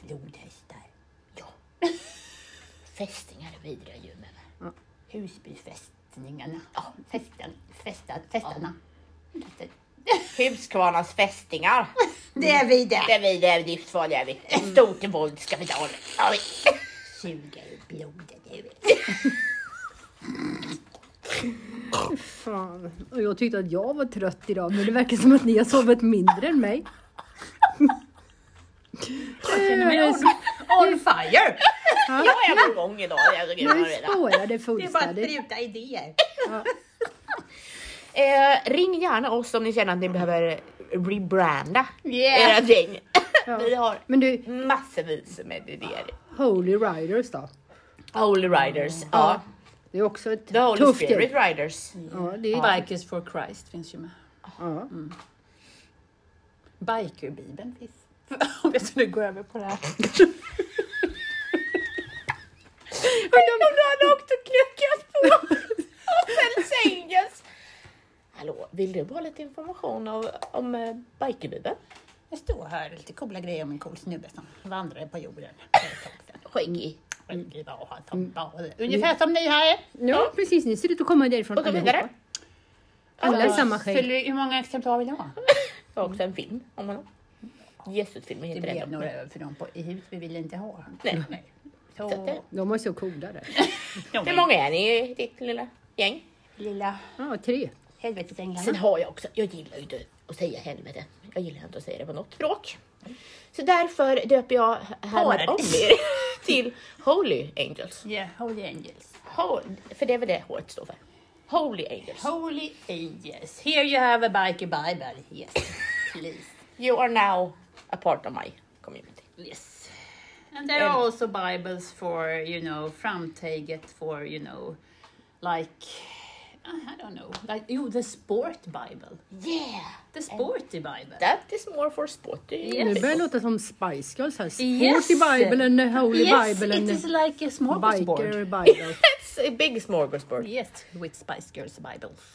S2: Flodhästar.
S1: fästingar är vidriga djur med.
S2: Husbyfästningarna. Ja, fästen, fästa, fästarna.
S1: Huskvarnas fästingar.
S2: Det är vi det!
S1: Det är vi, det är livsfarliga är vi. Stort våld ska vi ta. Ja, vi-
S2: Suger i blodet nu.
S3: Fan. Och jag tyckte att jag var trött idag men det verkar som att ni har sovit mindre än mig. Jag känner mig
S2: On fire!
S1: Jag är på gång idag. herregud, vad
S3: Nu
S1: är det där?
S3: spårar det
S2: Det är bara att
S3: fullständigt.
S2: spruta idéer.
S1: Eh, ring gärna oss om ni känner att ni behöver rebranda
S2: Yeah.
S1: era gäng.
S3: Ja.
S1: Vi har
S3: Men du,
S1: massvis med idéer.
S3: Holy Riders då?
S1: Holy Riders. Ja. Mm.
S3: Det är också ett
S1: The Holy
S3: tufft
S1: Spirit
S3: gäng.
S1: Riders.
S3: Ja, det är,
S6: Bikers for Christ finns ju med.
S3: ja.
S6: Bikerbibeln <laughs> finns. Om jag skulle gå över på det här.
S1: Undrar om du hade åkt och kluckat på och sen sängens. Hallå, vill du ha lite information om, om eh, Bikerbibeln?
S2: Jag står här lite coola grejer om en cool snubbe som vandrade på jorden för ett tag sedan.
S1: Skäggig.
S2: Skäggig var han som var. Ungefär som ni här är.
S3: ja, precis. Ni ser ut att komma därifrån
S1: Och så vidare.
S3: Alla är samma skägg.
S2: Fyller- Hur många exemplar vill ni ha?
S1: Jag har också en film om honom. Jesusfilmen
S2: Det
S1: heter
S2: blev
S1: den.
S2: några över för dem på, i hus. Vi ville inte ha.
S1: Nej.
S2: Så,
S1: Så att det-
S3: De var så coola där.
S1: Hur många är ni i ditt lilla gäng? Mm.
S2: lilla
S3: Ja, tre.
S1: Sen
S2: helvetesänglarna.
S1: har jag också, jag gillar ju inte att säga helvete. Jag gillar inte att säga det på något språk. Så därför döper jag härmed om
S2: Paradis.
S1: er <laughs> till Holy Angels.
S2: Yeah, Holy Angels.
S1: Hol- för det är väl det håret står för? Holy Angels.
S2: Holy Angels. Here you have a biker bible. Yes, please.
S1: You are now a part of my community.
S6: Yes. And there are also Bibles for, you know, framtaget for, you know, like, I don't know, like, jo, the sport Bible.
S1: Yeah!
S6: The sporty Bible.
S1: That is more for sporty.
S6: Yes.
S3: Det börjar låta som Spice Girls här. Sporty
S6: Yes.
S3: Bibeln, eh, Holy
S6: Yes,
S3: Bibeln, eh,
S6: it is like a smorgasbord.
S1: <laughs>
S3: Biker Bible.
S1: <laughs> That's a big smorgasbord.
S6: Yes, with Spice Girls Bibles.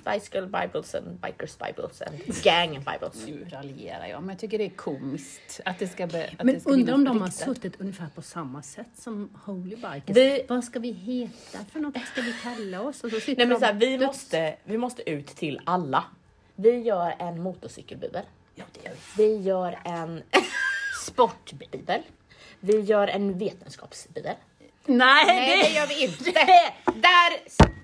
S1: Spice Girl Bibles and Bikers Bibles and Gang Bibles.
S6: Nu raljerar jag, men jag tycker det är komiskt att det ska, be, att det
S3: Men
S6: ska
S3: undrar om
S6: finnas
S3: de har
S6: riktat.
S3: suttit ungefär på samma sätt som Holy Bikers.
S1: Vi-
S3: Vad ska vi heta för något? Vad ska vi kalla oss? Och så sitter
S1: Nej men
S3: de-
S1: så här, vi, måste, vi måste ut till alla. Vi gör en motorcykelbibel.
S2: Ja, det gör vi.
S1: Vi gör en <laughs> sportbibel. Vi gör en vetenskapsbibel.
S6: Nej,
S1: Nej det
S6: det,
S1: gör vi inte. <laughs> Där!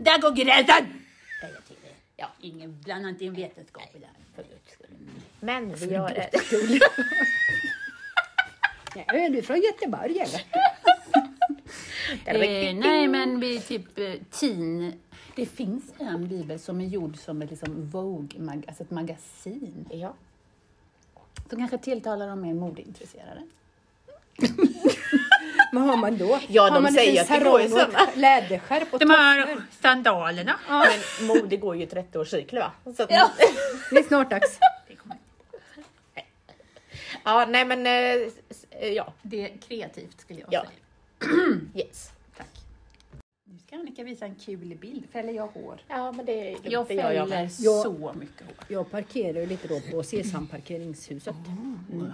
S6: där går gränsen!
S2: säger jag till er.
S1: Ja.
S2: Ingen, blanda inte in vetenskap i det här. För guds skull.
S1: Men vi gör en...
S3: Nej, är du från Göteborg eller?
S1: <laughs>
S6: Eh, nej, men vi är typ eh, teen. Det finns en bibel som är gjord som ett liksom Vogue, mag, alltså ett magasin.
S1: Ja.
S6: Som kanske tilltalar de mer modeintresserade.
S3: Vad har man då?
S1: Ja,
S3: har
S1: de
S3: man en
S1: säger
S3: liten
S1: att det går ju
S3: sarong och ett Läderskärp och
S7: De här sandalerna.
S1: Men mode går ju i 30-årscykler va? Så att, ja.
S7: Ja.
S3: Det är snart dags.
S1: nej men eh, s- eh, ja,
S2: Det är kreativt skulle jag
S1: Ja.
S2: säga.
S1: yes.
S2: Tack. Nu ska Annika visa en kul bild. Fäller jag hår?
S1: Ja men det är lugnt,
S2: Jag
S1: det gör jag
S2: fäller
S1: med.
S2: så mycket hår.
S3: Jag parkerar ju lite då på Sesamparkeringshuset. Mm.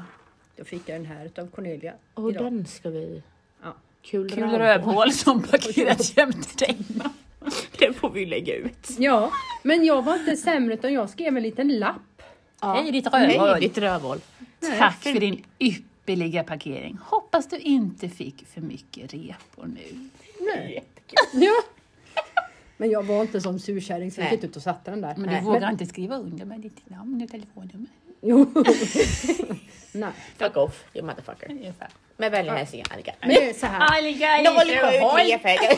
S3: Då fick jag den här utav Cornelia
S8: Och
S3: idag.
S8: den ska
S1: <laughs>
S8: vi...
S3: Ja.
S8: Kul,
S2: Kul rövhål som <laughs> parkerat jämte dig.
S1: Det får vi lägga ut.
S3: Ja, men jag var inte sämre utan jag skrev en liten lapp.
S2: Hej ditt
S1: Hej
S2: rövhål!
S1: ditt rövhål.
S2: Tack för din ypperliga parkering. Hoppas du inte fick för mycket repor nu.
S3: Nej. Ja. Men jag var inte som surkärring så jag
S1: Nej.
S3: gick ut och satte den där.
S2: Men du vågar inte skriva under med ditt namn och telefonnummer.
S3: Jo. <laughs> Nej.
S1: Fuck off, you motherfucker.
S2: Ungefär.
S1: Med vänliga hälsningar Annika.
S3: Men det är så här.
S2: Annika i
S1: Noll
S2: rövhål!
S1: sju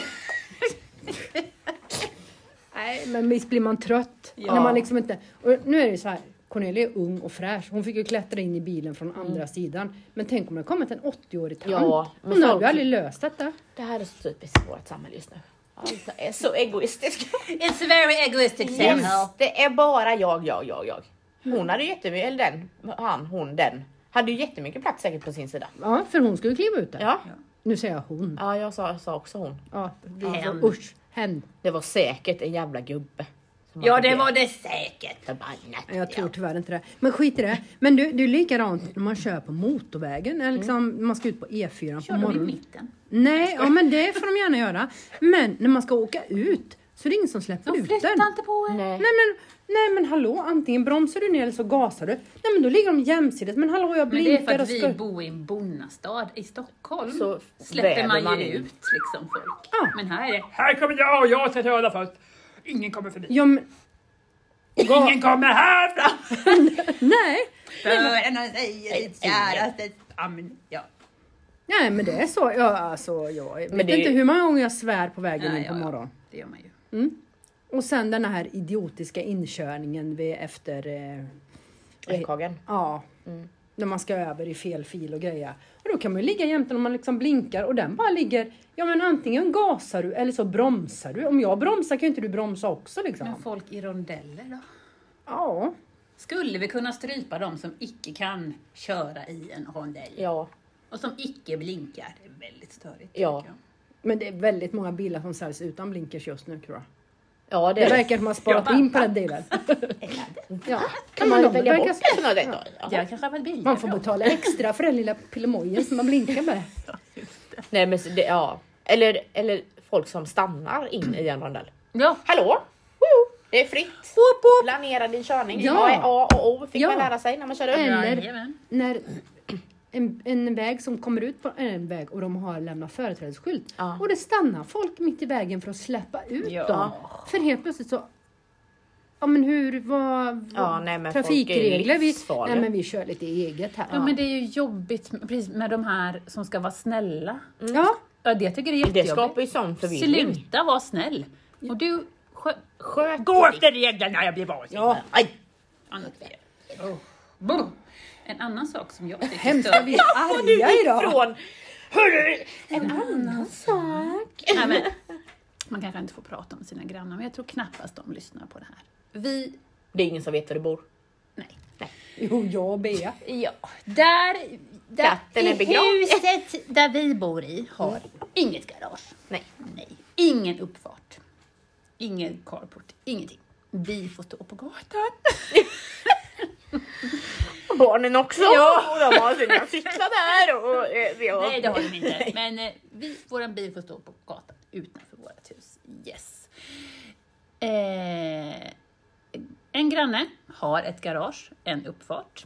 S3: Nej, men visst blir man trött?
S2: Ja.
S3: När man liksom inte... Och nu är det ju så här. Cornelia är ung och fräsch. Hon fick ju klättra in i bilen från andra sidan. Men tänk om det kommit en 80-årig tant.
S1: Ja, men
S3: Hon hade
S1: folk-
S3: ju aldrig löst detta.
S1: <laughs> Det här är så typiskt vårt samhälle just nu. Alla är så
S3: <laughs>
S1: egoistiska.
S2: It's a very egoistic
S1: Yes, det är bara jag, jag, jag, jag. Hon hade jättemycket, eller den, han, hon, den. Hade ju jättemycket plats säkert på sin sida.
S3: Ja, för hon skulle kliva ut där.
S1: Ja,
S3: Nu säger jag hon.
S1: ja jag sa, sa också hon.
S3: Ja, vi
S2: Hen.
S3: får, usch, hen.
S1: Det var säkert en jävla gubbe. som
S2: Ja,
S1: hade
S2: det var det säkert.
S1: Förbannat.
S3: Nej, Jag tror
S1: ja.
S3: tyvärr inte det. Men skit i det. Men du, det är likadant när man kör på motorvägen. Eller liksom, Man ska ut på E4
S2: Mm. Kör
S3: på
S2: de i
S3: morgonen.
S2: mitten?
S3: Nej, ja, men det får de gärna göra. Men när man ska åka ut så är det ingen som släpper
S2: De
S3: ut den.
S2: flyttar inte på er.
S1: Nej.
S3: Nej men, nej men hallå, antingen bromsar du ner eller så gasar du. Nej men då ligger de jämsides. Men hallå jag
S2: Men det är
S3: blinkar
S2: för
S3: och
S2: att vi
S3: ska...
S2: bor i en bonnastad. I Stockholm
S1: Så väver
S2: släpper man ju
S1: man in.
S2: ut liksom folk.
S3: Ja.
S2: Men här är det
S9: Här kommer jag och jag ska köra först. Ingen kommer förbi.
S3: Ja, men,
S9: Ingen kommer här fram.
S3: nej.
S7: Fören han säger sitt käraste namn. Ja.
S3: nej men det är så. Ja, alltså, jag vet
S1: det är
S3: inte
S1: ju-
S3: hur många gånger jag svär på vägen
S2: Nej,
S3: in på
S2: ja, ja.
S3: morgonen.
S2: Det gör man ju.
S3: Och sen den här idiotiska inkörningen vid efter... Eh,
S1: Ekhagen.
S3: ja.
S1: Mm.
S3: När man ska över i fel fil och grejer. Och då kan man ju ligga jämte när man liksom blinkar och den bara ligger... Ja men antingen gasar du eller så bromsar du. Om jag bromsar kan ju inte du bromsa också liksom.
S2: Men folk i rondeller då?
S3: Ja.
S2: Skulle vi kunna strypa dem som icke kan köra i en rondell?
S1: Ja,
S2: Och som icke blinkar? Det är väldigt störigt.
S1: Ja.
S2: tycker jag.
S3: Men det är väldigt många bilar som säljs utan blinkers just nu tror jag.
S1: ja det
S3: Det
S1: är det.
S3: verkar som att man sparat in på den delen. ja.
S1: Kan
S3: men
S1: man
S3: de
S1: välja
S3: verkar
S1: bort
S3: så-
S1: sådana där? Ja.
S2: Det här kanske har varit bilar
S3: Man får
S2: då.
S3: betala extra för den lilla pillemojen som man blinkar med.
S1: Nej men så det, ja. Eller, eller folk som stannar in i en rondell.
S2: Ja.
S1: Hallå! Woho! Det är fritt.
S3: Woop, woop.
S1: Planera din körning.
S3: Ja.
S1: Vad är A och O? Fick
S3: Ja.
S1: man lära sig när man körde upp.
S3: Eller-
S2: Jajamän.
S3: När en, en väg som kommer ut på eh, en väg och de har lämnat företrädesskylt
S1: Ja.
S3: och det stannar folk mitt i vägen för att släppa ut
S2: Ja.
S3: dem. För helt plötsligt så Ja men hur, vad, vad
S1: Ja, nej, men folk är ju
S3: trafikregler? Vi,
S1: livsfarliga.
S3: nej men vi kör lite eget här.
S2: Ja, men det är ju jobbigt med- precis med de här som ska vara snälla.
S3: Ja.
S2: Ja, det tycker jag är
S1: Det
S2: jättejobbigt.
S1: skapar ju sån förvirring.
S2: Sluta vara snäll. Och du skö-
S1: Sköt
S9: Gå efter reglerna, jag blir vansinnig.
S1: Ja. Aj.
S2: annat fel. Brr. En annan sak som jag tycker
S3: Hemskt vad vi är arga idag.
S1: Från hörru!
S2: Nej, <laughs> men, man kanske inte får prata om sina grannar, men jag tror knappast de lyssnar på det här. Vi,
S1: Det är ingen som vet var du bor.
S2: nej.
S3: Jo, jag och Bea.
S2: Ja, där, där
S1: Katten är
S2: i
S1: begravd.
S2: huset där vi bor i har inget garage.
S1: Nej.
S2: Mm. Nej. Ingen uppfart. Ingen carport. Ingenting. Vi får stå på gatan.
S1: Barnen också! Ja. Och de har sina cyklar där och eh, vi har...
S2: Nej, det har de inte. Men eh, vi, våran bil får stå på gatan utanför vårt hus. Yes. Eh, en granne har ett garage, en uppfart.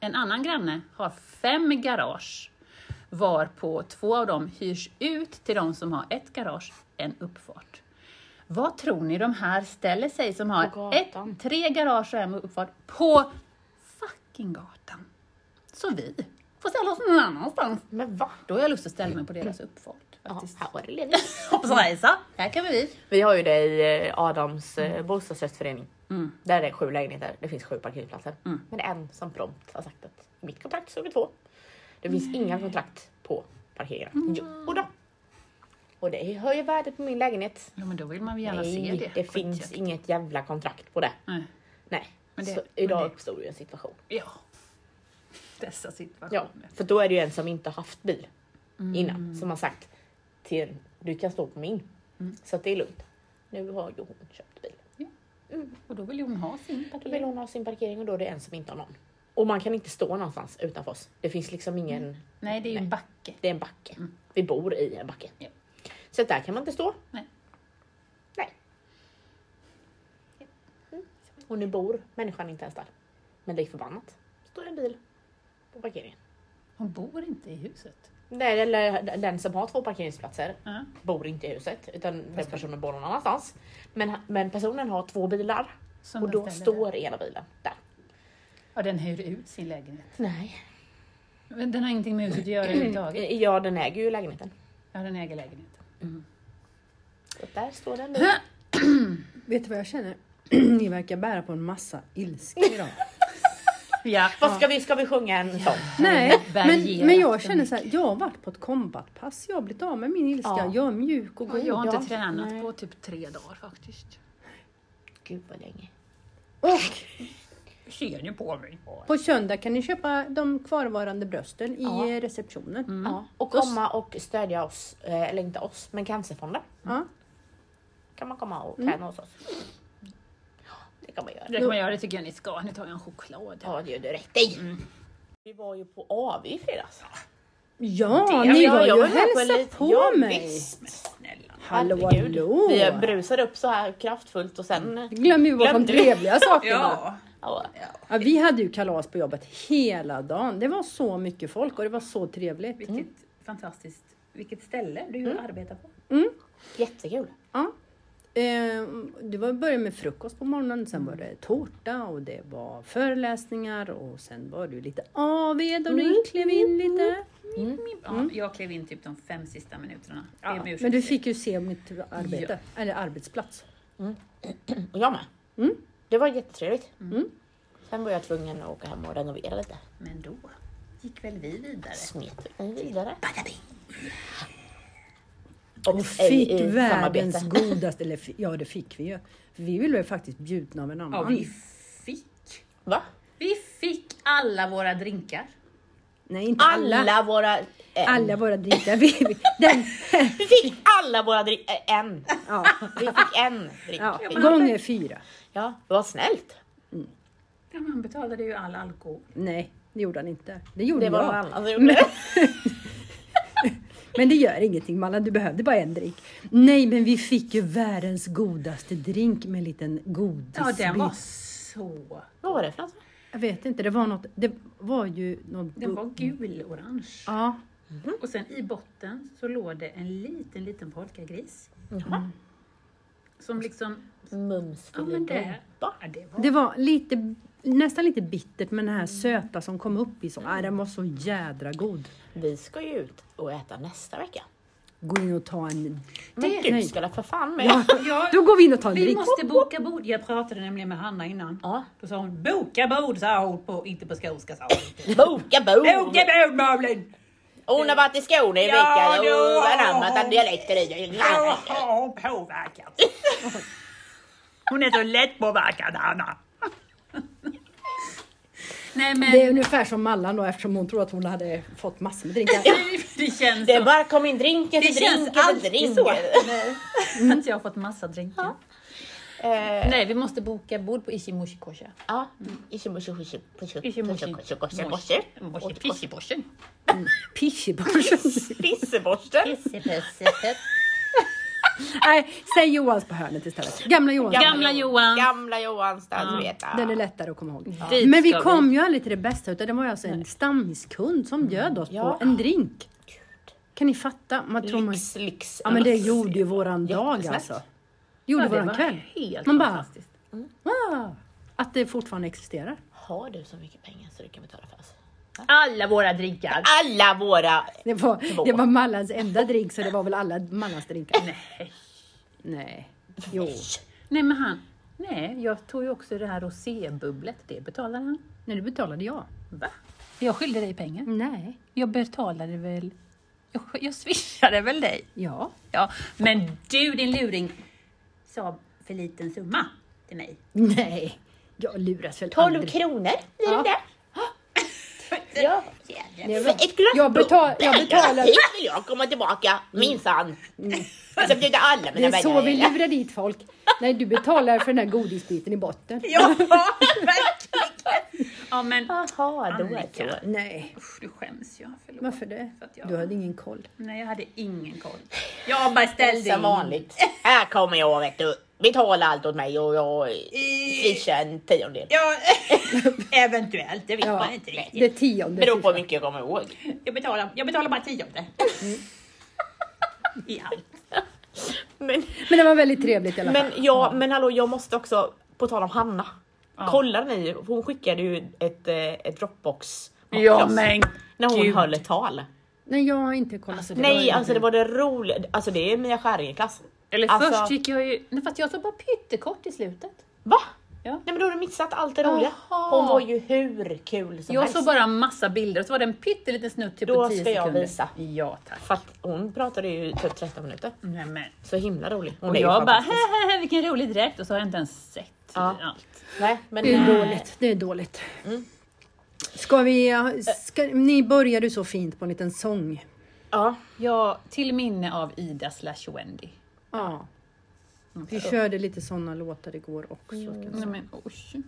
S2: En annan granne har fem garage, varpå två av dem hyrs ut till de som har ett garage, en uppfart. Vad tror ni de här ställer sig som
S1: På
S2: har ett,
S1: gatan.
S2: tre garage och en uppfart på fucking gatan? Så vi får ställa oss någon annanstans.
S1: Men va?
S2: Då har jag lust att ställa mig på deras uppfart.
S1: Ja,
S2: Faktiskt. <laughs>
S1: här var det ledigt.
S2: Hoppas och hejsa, här kan vi.
S1: Vi har ju det i eh, Adams eh,
S2: Mm.
S1: bostadsrättsförening. Där är det sju lägenheter. Det finns sju parkeringsplatser.
S2: Mm. Mm.
S1: Men det är en som prompt har sagt att i mitt kontrakt så är vi två. Det finns inga kontrakt på parkera. Jo då. Och det höjer värdet på min lägenhet.
S2: Ja, men då vill man väl gärna se
S1: Nej,
S2: det.
S1: det, finns
S2: Skitjakt.
S1: inget jävla kontrakt på det.
S2: Nej.
S1: Nej.
S2: Men det-
S1: så idag
S2: men det-
S1: uppstod ju en situation.
S2: Ja. Dessa
S1: Ja,
S2: situationer.
S1: för då är det ju en som inte har haft bil
S2: Mm.
S1: innan som har sagt till en, du kan stå på min.
S2: Mm.
S1: Så att det är lugnt. Nu har ju hon köpt bil.
S2: Och då vill ju hon ha
S1: Då
S2: sin
S1: vill
S2: parkering.
S1: hon ha sin parkering och då är det en som inte har någon. Och man kan inte stå någonstans utanför oss. Det finns liksom ingen,
S2: Nej, det är ju en backe.
S1: det är en backe. Vi bor i en backe.
S2: Mm. Ja.
S1: Så att där kan man inte stå.
S2: Nej.
S1: Nej. Mm. Och nu bor människan inte ens där. Men lik förbannat står en bil på parkeringen.
S2: Hon bor inte i huset.
S1: Nej, eller den som har två parkeringsplatser
S2: Ja.
S1: bor inte i huset utan den personen bor någon annanstans. Men, men personen har två bilar
S2: Som
S1: och
S2: den
S1: då
S2: ställer
S1: står
S2: där.
S1: ena bilen där.
S2: Ja, den hyr ut sin lägenhet.
S1: Nej.
S2: Men den har ingenting med huset att göra <clears throat> överhuvudtaget.
S1: Ja, den äger ju lägenheten.
S2: Ja, den äger lägenheten.
S1: Så där står den bilen.
S3: Vet du vad jag känner? <clears throat> Ni verkar bära på en massa
S2: <laughs>
S3: ilska idag.
S2: Ja.
S1: Vad ska vi, ska vi sjunga en sång?
S3: Nej, men,
S2: Varierat
S3: men jag
S2: så
S3: känner så här, jag har varit på ett kombatpass, jag har blivit av med min ilska,
S1: Ja.
S3: jag är mjuk och god.
S2: Jag har inte
S1: Ja,
S2: tränat
S1: nej.
S2: på typ tre dagar faktiskt.
S1: Gud vad länge.
S3: Och
S9: Ser ni på mig?
S3: på söndag kan ni köpa de kvarvarande brösten i
S1: Ja. Mm.
S3: eh, receptionen.
S1: Ja, och komma och stödja oss, eh, eller inte oss, men Cancerfonden.
S3: Ja.
S1: Kan man komma och träna hos oss. Ja, Det kan man göra.
S2: Det kan man göra, det tycker jag ni ska. Nu tar jag en choklad.
S1: Ja, det gör du rätt i. Vi var ju på AV i fredags.
S3: Ja,
S1: Ja,
S3: ni
S1: jag
S3: var ju och
S1: med på en
S3: hälsade
S1: liten-
S3: på
S1: ja,
S3: mig!
S1: visst.
S3: Hallå,
S1: Herregud.
S3: hallå!
S1: Vi brusade upp så här kraftfullt och sen...
S3: Glöm ju bort de
S1: Glömde vi. <laughs>
S3: trevliga sakerna.
S10: Ja.
S1: Ja,
S3: Ja, vi hade ju kalas på jobbet hela dagen. Det var så mycket folk och det var så trevligt.
S2: Vilket fantastiskt, vilket ställe du arbetar på.
S1: jättekul.
S3: Ja. Eh, Det var började med frukost på morgonen, sen var
S1: Mm.
S3: det tårta och det var föreläsningar och sen var det ju lite AW då
S1: Mm.
S3: du klev in lite.
S2: Ja, jag klev in typ de fem sista minuterna. Ja,
S1: Mm.
S3: Men du fick ju se mitt arbete, eller arbetsplats.
S1: Och jag med. Det var jättetrevligt. Sen var jag tvungen att åka hem och renovera lite.
S2: Men då gick väl vi vidare.
S1: Smet vi vidare.
S3: Och
S1: ej
S3: fick
S1: i
S3: världens
S1: samarbete.
S3: godaste, eller fi- ja det fick vi ju. Vi blev ju faktiskt bjudna av en annan.
S2: Ja, vi fick.
S1: Va?
S2: Vi fick alla våra drinkar.
S3: Nej, inte alla.
S1: Alla,
S3: Alla,
S1: våra... En.
S3: våra drinkar. Vi, vi- den,
S1: Vi fick alla våra drick... eh, En.
S3: ja,
S1: Vi fick en drink.
S3: ja,
S1: Fick-
S3: gånger fyra.
S1: ja vad snällt.
S2: Ja, man betalade ju all alkohol.
S3: Nej, det gjorde han inte. Det gjorde
S1: Det var någon
S3: jag.
S1: annan som gjorde det.
S3: Men det gör ingenting Mallan, du behövde bara en drink. Nej, men vi fick ju världens godaste drink med en liten godisbit.
S2: Ja, den var så...
S1: Vad var det för något?
S3: Jag vet inte, det var något, det var ju något...
S2: Den var gul-orange.
S3: Ja,
S2: Och sen i botten så låg det en liten, liten polkagris. Mm.
S1: Jaha.
S2: Som liksom...
S1: Mums
S2: Ja, men det... Ja, det var...
S3: det var lite, nästan lite bittert med den här söta som kom upp i så. Nej, den var så jädra god.
S1: Vi ska ju ut och äta nästa vecka.
S3: Gå in och ta en...
S1: Men
S3: Det-
S1: du
S3: nej.
S1: skulle för fan med.
S2: Ja,
S3: Då går vi in och tar en
S2: vi
S3: drink.
S2: måste boka bord. Jag pratade nämligen med Hanna innan.
S1: Ja.
S2: Då sa hon boka bord, sa hon. På, inte på Skånska, sa
S1: <laughs>
S2: hon.
S1: Boka bord!
S2: Boka bord, Malin!
S1: Hon har varit i Skåne i
S2: Ja,
S1: veckan
S2: då-
S1: och anammat att dialekter i.
S9: Jag har hon påverkat. Hon är så lättpåverkad, Hanna.
S2: <laughs> Nej, men...
S3: Det är ungefär som Mallan då eftersom hon tror att hon hade fått massor med <laughs> drinkar.
S2: Det <laughs> känns
S1: Det är
S2: så.
S1: bara kom in drinken
S2: Det
S1: till
S2: känns
S1: drinken till
S2: alltid
S1: drinken.
S2: så. <laughs> Att jag har fått massa drinkar.
S1: Eh,
S2: Nej, vi måste boka bord på Ishimoshikosha.
S1: Ja, ichimushi hushi pushu
S2: Ichimushi.
S1: pushu koshe koshe.
S2: Pishiposhen.
S3: Pishibosh.
S2: <laughs>
S1: Pisseborsten.
S3: Nej, säg Johans på hörnet istället. Gamla Johan.
S2: Gamla Johan.
S1: Gamla Johan stadsveta.
S3: Den är lättare att komma ihåg.
S2: Dit
S3: Men vi
S2: ska
S3: kom ju aldrig till det bästa utan det var ju alltså en stammiskund
S2: Mm.
S3: som bjöd oss
S1: Ja.
S3: på en drink. Kan ni fatta? Man tror man...
S1: Lyx, lyx.
S3: Ja men det gjorde ju våran dag
S1: Jättesnällt.
S3: alltså. Gjorde
S2: Ja, det
S3: våran
S2: var
S3: kväll.
S2: helt
S3: Man bara-
S2: fantastiskt.
S3: Ah, att det fortfarande existerar.
S1: Har du så mycket pengar så du kan betala för oss?
S2: Alla våra drinkar.
S1: Alla våra...
S3: Det var, det var Mallans enda drink så det var väl alla Mallans drinkar.
S2: Nej.
S3: Nej. Jo.
S2: Nej, men han. Nej, jag tog ju också det här rosébubblet. Det betalade han.
S3: Nej, det betalade jag.
S2: Va? Jag skyllde dig pengar.
S3: Nej.
S2: Jag betalade väl Jag, jag swishade väl dig?
S3: Ja.
S2: Ja, Mm. men du din luring sa för liten summa till mig.
S3: Nej, jag luras väl
S1: 12 kronor blir det där. Ja.
S2: <laughs>
S1: För ett glatt
S3: Jag betal- jag
S1: bubbel.
S3: betalar- Mm.
S1: Hit vill jag komma tillbaka, minsann. Jag ska bjuda alla
S3: Det
S1: mina
S3: är så vi
S1: vänner.
S3: lurar dit folk. Nej, du betalar för den här godisbiten i botten.
S2: Ja, verkligen! Ja, men
S1: Jaha, då är
S2: Annika.
S1: det så.
S3: Nej,
S2: usch, du skäms jag. Förlåt.
S3: varför det?
S2: För att jag,
S3: Du hade ingen koll.
S2: Nej, jag hade ingen koll. Jag bara ställde
S1: Som vanligt. Här kommer jag vet du. Betala allt åt mig och jag swishar en tiondel.
S2: Ja, <laughs> eventuellt. Det vet
S3: Ja.
S2: man inte riktigt.
S3: Det tionde.
S1: Beror på hur mycket jag kommer ihåg.
S2: Jag betalar, jag betalar bara tionde. I allt.
S1: Men,
S3: Men det var väldigt trevligt i alla fall.
S2: <laughs>
S1: men, ja, men hallå, jag måste också, på tal om Hanna. Kollade ni? Hon skickade ju ett, eh, ett Dropbox.
S2: Ja, men
S1: När hon
S2: gud.
S1: höll ett tal.
S3: Nej, jag har inte kollat.
S1: Nej, alltså det var det roliga. Alltså det är Mia Skäringer-klass.
S2: Eller
S1: Alltså-
S2: först gick jag ju... Nej, fast jag såg bara pyttekort i slutet.
S1: Va?
S2: Ja.
S1: Nej men då har du missat allt det roliga.
S2: Jaha.
S1: Hon var ju hur kul som
S2: Jag
S1: helst.
S2: såg bara massa bilder och så var det en pytteliten snutt typ
S1: Då
S2: på 10
S1: ska jag
S2: sekunder.
S1: visa.
S2: Ja, tack.
S1: För att hon pratade ju typ 30 minuter.
S2: Nej, men.
S1: Så himla rolig. Hon
S2: Och
S1: är ju
S2: jag bara,
S1: fantastisk.
S2: "Hehehe, vilken rolig dräkt. Och så har jag inte ens sett
S1: Ja.
S2: allt.
S1: Nej, men
S3: Det Mm. är
S1: nej.
S3: dåligt. Det är dåligt. Ska vi... Ska, ni började så fint på en liten sång.
S1: Ja.
S2: Ja, till minne av Ida slash Wendy.
S3: Ja. Vi körde lite såna låtar igår också. Kan jag
S2: Nej,
S3: säga.
S2: men oh, oj.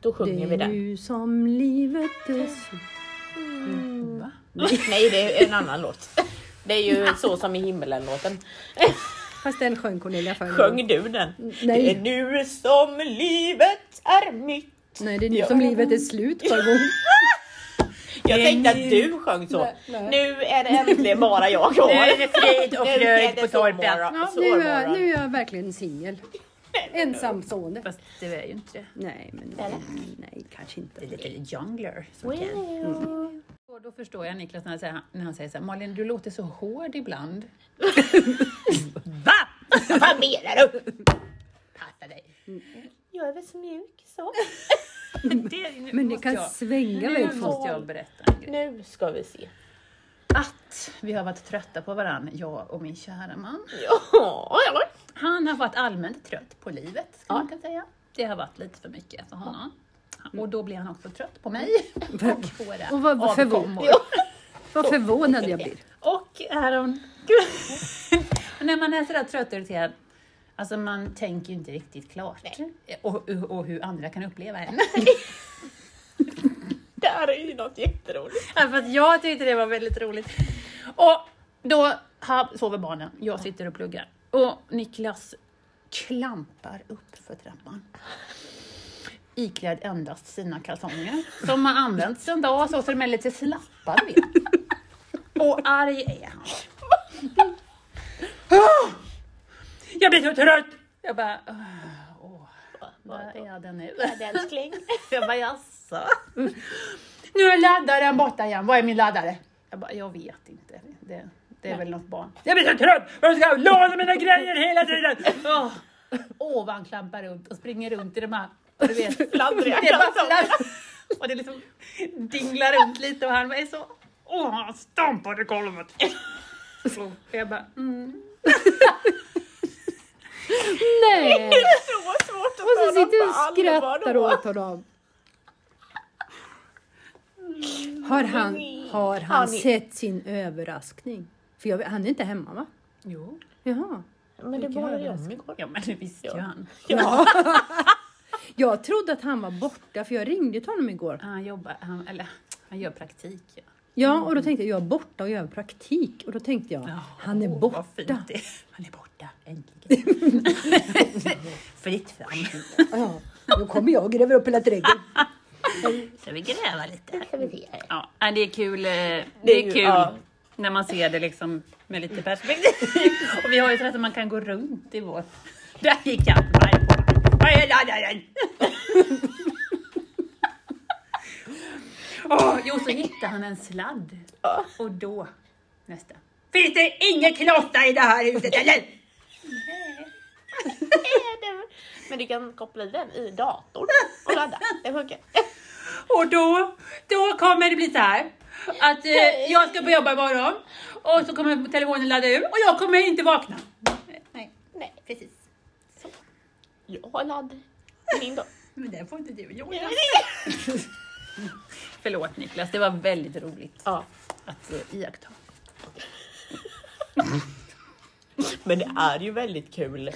S1: Då
S3: Det
S1: sjunger vi
S3: är
S1: den.
S3: nu som livet är slut.
S2: Va?
S1: Nej, det är en annan låt. Det är ju så som i
S2: <laughs>
S1: himmelen-låten.
S3: Fast den sjöng Cornelia förra gången.
S1: Sjöng du den?
S3: Mm. nej.
S1: Det är nu som livet är mitt.
S3: Nej, det är nu
S1: Ja.
S3: som livet är slut förra gången.
S1: Jag tänkte att du sjöng så.
S3: Nej, nej.
S1: Nu är det äntligen bara jag kvar.
S2: Nu är det frid och
S1: Nu är
S2: fröjd
S1: det
S2: på torpet.
S1: sommar-
S3: <laughs> Ja, nu,
S1: sommar.
S3: är, nu är jag verkligen singel. <laughs> Ensamstående.
S2: Fast det är ju inte det.
S3: Nej, men nej, kanske
S2: Det är
S3: inte.
S2: lite jungler. som kan.
S1: Mm.
S2: Och då förstår jag Niklas när han säger, när han säger så här, Malin du låter så hård ibland. Va?
S1: Vad menar du?
S2: Passa dig.
S1: Jag är väl så mjuk så.
S2: Det, nu
S3: Men det
S2: måste
S3: kan
S2: jag,
S3: svänga
S2: Nu
S3: väldigt fort.
S2: måste jag berätta en grej.
S1: Nu ska vi se.
S2: Att vi har varit trötta på varandra, jag och min kära man.
S1: Ja, ja.
S2: Han har varit allmänt trött på livet, ska man kan säga. Det har varit lite för mycket för honom. Och då blir han också trött på mig Mm. <laughs> och våra
S3: Och vad- vad förvånad-
S2: avkommor.
S3: Vad förvånad jag blir.
S2: Och härom... när man är sådär trött och irriterad, alltså man tänker ju inte riktigt klart. Och, och, och hur andra kan uppleva en. <laughs>
S1: Det här är ju något jätteroligt.
S2: Ja, För att jag tyckte det var väldigt roligt. Och då ha- sover barnen, jag sitter och pluggar. Och Niklas klampar upp för trappan. Iklädd endast sina kalsonger, som har använts en dag så att de är lite slappa, du vet. Och arg är han. Ah! Jag blir så trött! Jag bara, "Åh, åh, vad är den nu?
S1: <laughs> Älskling.
S2: Jag bara jaså? Nu är laddaren borta igen, var är min laddare? Jag bara, jag vet inte. Det, det är väl något barn. Jag blir så trött! Jag ska låna mina grejer hela tiden! Åh, Åh, vad han klampar runt och springer runt i de <laughs> här, du vet.
S1: Fladdriga
S2: Det är bara
S1: kalsonger.
S2: fladd- Och det liksom dinglar runt lite och han är så... Åh, han stampar i golvet. Och jag bara, mm.
S3: <laughs> Nej!
S1: Så svårt att
S3: Och så
S1: ta något
S3: sitter du
S1: på
S3: och
S1: allvar
S3: skrattar
S1: då.
S3: åt honom. Har han, har han sett sin överraskning? För jag, vet- han är inte hemma va?
S2: Jo,
S3: Jaha.
S1: Men det bad jag om igår.
S2: ja men det visste ju han.
S3: Jag trodde att han var borta för jag ringde till honom igår.
S2: Han jobbar, han, eller han gör praktik. Ja.
S3: Ja, och då tänkte jag, jag är borta och jag har praktik. Och då tänkte jag, han är
S2: Åh,
S3: borta.
S2: vad fint det är. Han är borta, äntligen. <laughs> Fritt fram.
S3: Ja, då kommer jag och gräver upp hela trädgården.
S2: Ska vi gräva lite? Ja, nej, det är kul. eh, Det,
S1: är
S2: är
S1: ju-
S2: kul
S1: ja.
S2: när man ser det liksom med lite <laughs> perspektiv. Och vi har ju så att man kan gå runt i vårt... Där gick han! Var är- Var är laddaren? Åh, jo, så hittade han en sladd. Och då, nästa. Finns det ingen klotta i det här huset eller?
S1: <laughs> Men du kan koppla i den i datorn och ladda. Det funkar.
S2: Och då, då kommer det bli så här. att eh, jag ska börja jobba imorgon och så kommer telefonen ladda ur och jag kommer inte vakna.
S11: Nej,
S1: Nej,
S11: precis.
S1: jag har ladd. Min då.
S11: Men den får inte du göra.
S2: Förlåt Niklas, det var väldigt roligt
S1: Ja.
S2: att eh, iaktta.
S1: Men det är ju väldigt kul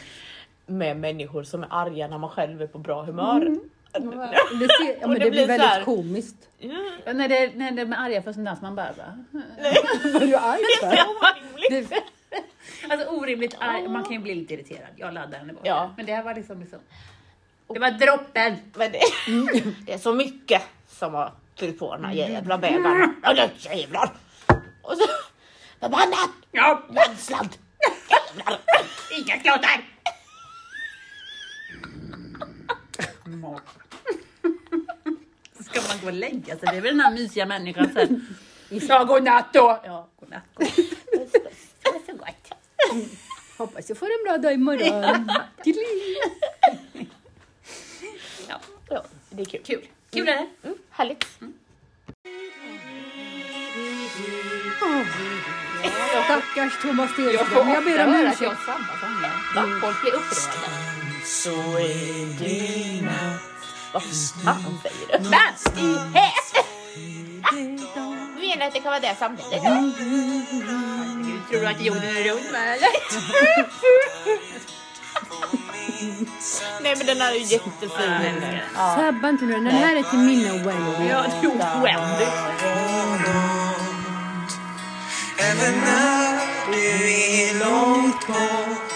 S1: med människor som är arga när man själv är på bra humör.
S3: Det, ser, ja, men
S1: det blir
S3: det, blir
S1: så här-
S3: väldigt komiskt.
S1: Mm.
S2: Ja, När det, när det är arga för sånt där som man bara, va?
S3: Vad är du arg för? Det-
S2: Alltså orimligt arg, man kan ju bli lite irriterad. Jag laddar henne bort.
S1: Ja.
S2: Men det här var liksom, liksom det var droppen!
S1: Men det, det är så mycket som har fyllt på den här jävla bägaren. Ja, nu jävlar! Och så förbannat!
S2: Ja,
S1: Landsladd!
S2: inga klottar! Ska man gå och lägga sig? Det är väl den här mysiga människan <laughs> sen. Ja, godnatt då! Ja, godnatt. godnatt. Det var så gott.
S3: Hoppas jag får en bra dag imorgon.
S2: Ja,
S1: Ja, det är kul.
S2: kul. Kul är det.
S1: Mm, härligt.
S3: Stackars Thomas Stenström. Jag ber om ursäkt.
S2: jag sabbar sånger. Folk blir upprörda.
S1: Vad fan säger du?
S2: Men i helvete!
S1: <laughs> Du menar att det kan vara det samtidigt?
S2: Tror du att jorden är rund? va, eller?
S1: Nej men den är ju jättefin.
S3: Sabba inte nu den. Den här är till minne och Wendy.
S2: Ja, det är oskämdigt.
S12: Även när du är långt bort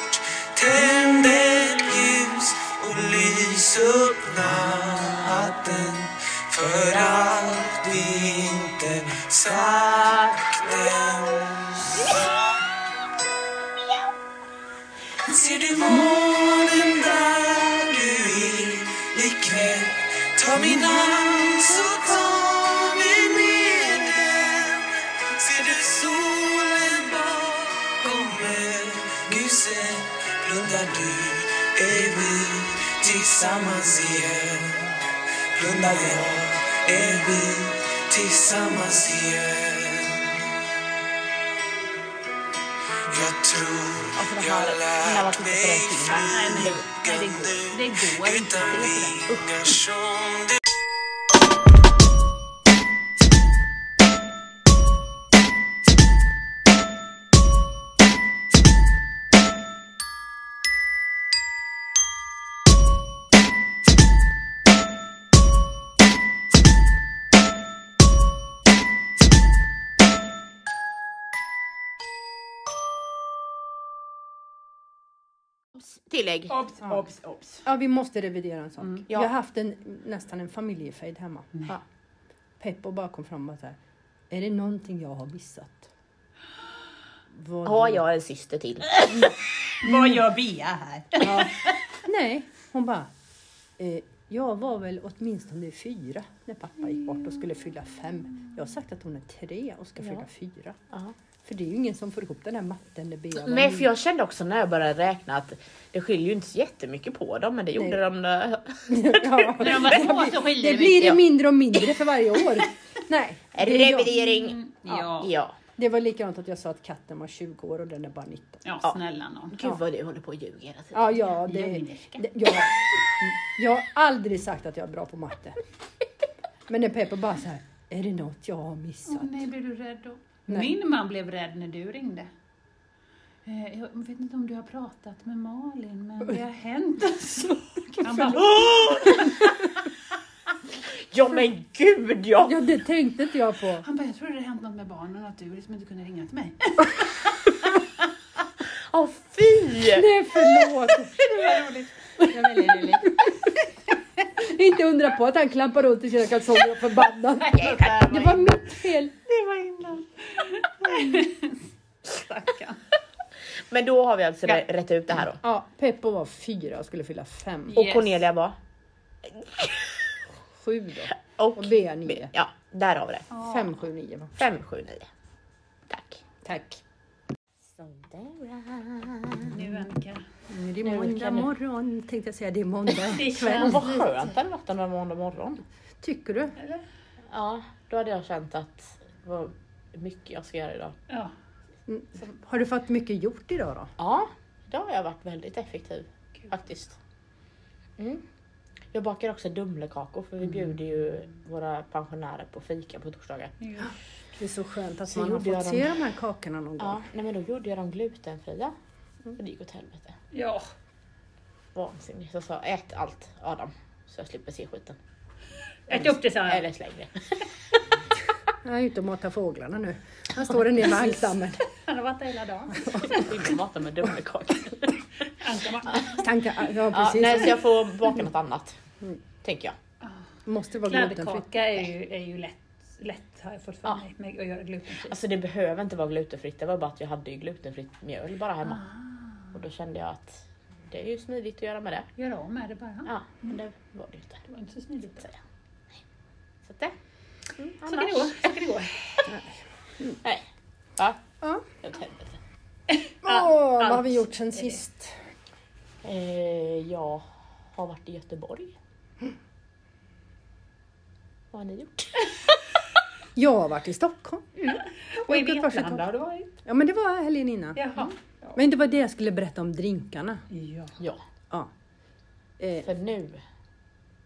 S12: Tänd ett ljus och lys upp natten För allt vi inte sagt än Ser du månen där du är ikväll? Ta min hand så ta mig med den Ser du solen bakom husen? Blundar du, är vi tillsammans igen? Blundar jag, är vi tillsammans igen? Jag tror jag lärt mig
S2: Nej, nej, nej, det går, det går inte.
S12: utan vingar som det
S1: Tillägg.
S2: Obs, obs, obs.
S3: Ja, vi måste revidera en sak. Jag
S1: Ja.
S3: har haft en, nästan en familjefejd hemma. Ja. Peppo bara kom fram och sa, är det någonting jag har missat? Vad-
S1: Har jag en syster till?
S9: Vad gör Bea här?
S3: Nej, hon bara, eh, jag var väl åtminstone fyra när pappa gick bort och skulle fylla fem. Jag har sagt att hon är tre och ska fylla fyra.
S1: Ja.
S3: För det är ju ingen som får ihop den här matten. Det blir
S1: Nej för jag kände också när jag började räkna att det skiljer ju inte så jättemycket på dem men det gjorde
S3: Nej.
S1: de när-
S3: <laughs> ja.
S2: När de var små så skiljer
S3: Det blir det
S1: ja.
S3: mindre och mindre för varje år. Nej.
S1: <laughs>
S3: det är jag.
S1: Revidering!
S2: Ja. ja.
S1: Ja.
S3: Det var likadant att jag sa att katten var 20 år och den är bara 19.
S2: Ja, snälla nån.
S1: Gud vad du håller på och ljuger hela tiden.
S3: Ja, ja, det,
S2: Lugnerska.
S3: det, jag, jag har aldrig sagt att jag är bra på matte. Men när Peppa bara så här, är det något jag har missat?
S2: nej, blev du rädd då?
S3: Nej.
S2: Min man blev rädd när du ringde. Eh, Jag vet inte om du har pratat med Malin, men det har hänt <laughs> en sak. Han bara,
S1: Ja men gud ja!
S3: Ja, det tänkte inte jag på.
S2: han bara, jag trodde det hade hänt något med barnen, att du liksom inte kunde ringa till mig.
S1: Åh fy!
S3: Nej, <laughs> förlåt.
S2: Det var väldigt roligt.
S3: Inte undra på att han klampar runt i sina kalsonger och är förbannad. Det var mitt fel.
S2: Stackarn.
S1: Men då har vi alltså
S3: Ja.
S1: re- rätt ut det här då.
S3: Ja, Peppo var fyra och skulle fylla fem.
S1: Och
S2: Yes.
S1: Cornelia var?
S3: Sju då.
S1: Och,
S3: Och Bea nio.
S1: Ja, där har vi det.
S3: Fem, sju, nio va?
S1: 579. Tack.
S3: Tack.
S2: Nu Annika.
S3: Nu är det måndag morgon tänkte jag säga. <laughs> Det är måndag
S2: Det
S3: kväll.
S2: känns-
S1: Vad skönt det hade varit om det var måndag morgon.
S3: Tycker du?
S1: Ja, då hade jag känt att vad mycket jag ska göra idag.
S2: Ja.
S3: Mm. Har du fått mycket gjort idag då?
S1: Ja, idag har jag varit väldigt effektiv faktiskt. Mm. Jag bakar också dumlekakor för vi bjuder ju våra pensionärer på fika på torsdagar.
S3: Det är så skönt att
S1: Så
S3: man har
S1: gjorde jag
S3: fått
S1: dem.
S3: se de här kakorna någon gång.
S1: Ja, Mm. nej men då gjorde jag dem glutenfria. Och det gick åt helvete.
S2: ja.
S1: Vansinnigt. Så jag sa ät allt Adam så jag slipper se skiten.
S2: Ät upp det sa jag.
S1: Eller släng <laughs> det.
S3: Jag är ute och matar fåglarna nu. Här står den ner med ankdammen.
S2: Han har varit där hela dagen.
S1: Inte mata med dumlekakor.
S2: Anka bara,
S3: Tankar, ja
S1: Ja,
S3: precis.
S1: nej, så jag får baka något annat. Tänker jag.
S3: Måste vara glutenfritt.
S2: Kladdkaka är ju, är ju lätt, lätt har jag fått för
S1: Ja.
S2: mig med att göra glutenfri.
S1: Alltså det behöver inte vara glutenfritt, det var bara att jag hade ju glutenfritt mjöl bara hemma. Och då kände jag att det är ju smidigt att göra med det.
S2: Gör av med det bara.
S1: Ja, men det var det ju inte.
S2: Det var inte så smidigt. Så
S1: Så att det.
S2: kan det gå. Så kan det gå.
S1: Nej. Va?
S3: Ja.
S1: Det var ett helvete.
S3: Åh, vad har vi gjort sen sist?
S1: Eh, jag har varit i Göteborg. Vad har ni gjort?
S3: Jag har varit i Stockholm.
S2: Och i
S3: Jag åker första
S2: Vetlanda har du varit?
S3: Ja men det var helgen innan.
S2: Jaha.
S3: Men det var det jag skulle berätta om drinkarna.
S2: Ja.
S1: Ja,
S3: Ja. Eh,
S1: för nu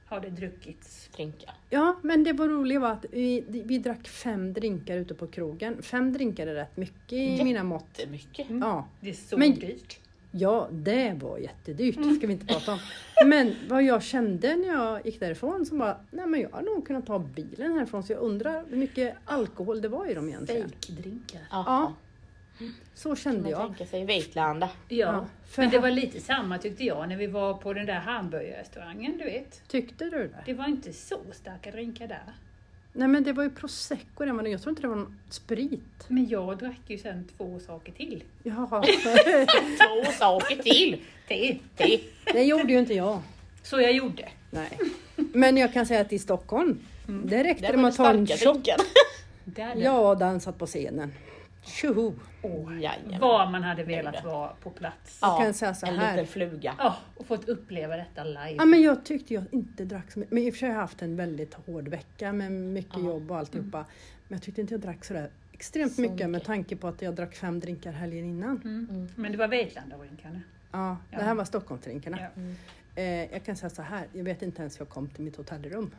S2: Har det druckits?
S1: drinkar.
S3: ja men det var roliga var att vi, vi drack fem drinkar ute på krogen. Fem drinkar är rätt mycket i mina mått.
S1: Det är mycket.
S3: Ja.
S2: Det är så
S3: Men-
S2: dyrt.
S3: ja, det var jättedyrt. Det ska vi inte prata om.
S1: Mm.
S3: Men vad jag kände när jag gick därifrån så var nej men jag hade nog kunnat ta bilen härifrån så jag undrar hur mycket alkohol det var i dem egentligen.
S2: Fake-drinkar.
S1: Ja.
S3: Ja. Så kände
S1: Man
S3: jag.
S1: tänker sig Vetlanda.
S2: Ja,
S3: för
S2: men det var lite samma tyckte jag när vi var på den där hamburgerrestaurangen, du vet.
S3: Tyckte du det?
S2: Det var inte så starka drinkar där.
S3: Nej men det var ju prosecco den var Jag tror inte det var någon sprit.
S2: Men jag drack ju sen två saker till.
S1: <laughs>
S3: Jaha.
S1: Två saker till!
S2: Det.
S1: Det.
S3: det gjorde ju inte jag.
S2: Så jag gjorde.
S3: Nej. Men jag kan säga att i Stockholm, där räckte
S1: Mm. Där var
S3: det med
S1: det
S3: att ta en
S1: starka
S3: shot.
S1: drinkar.
S2: Där
S3: Jag har dansat på scenen. Tjoho!
S1: Jajamän.
S2: Var man hade velat vara på plats.
S3: Jag kan säga så
S1: en
S3: här.
S1: liten fluga.
S2: Ja, och fått uppleva detta live.
S3: Ja men jag tyckte jag inte drack så mycket. Men i och för sig har jag haft en väldigt hård vecka med mycket jobb och alltihopa. Men jag tyckte inte jag drack sådär extremt mycket, med tanke på att jag drack fem drinkar helgen innan.
S2: Men det var Vetlandadrinkarna.
S3: Ja, det här var Stockholmsdrinkarna.
S2: Ja.
S3: Eh, jag kan säga så här, jag vet inte ens hur jag kom till mitt hotellrum.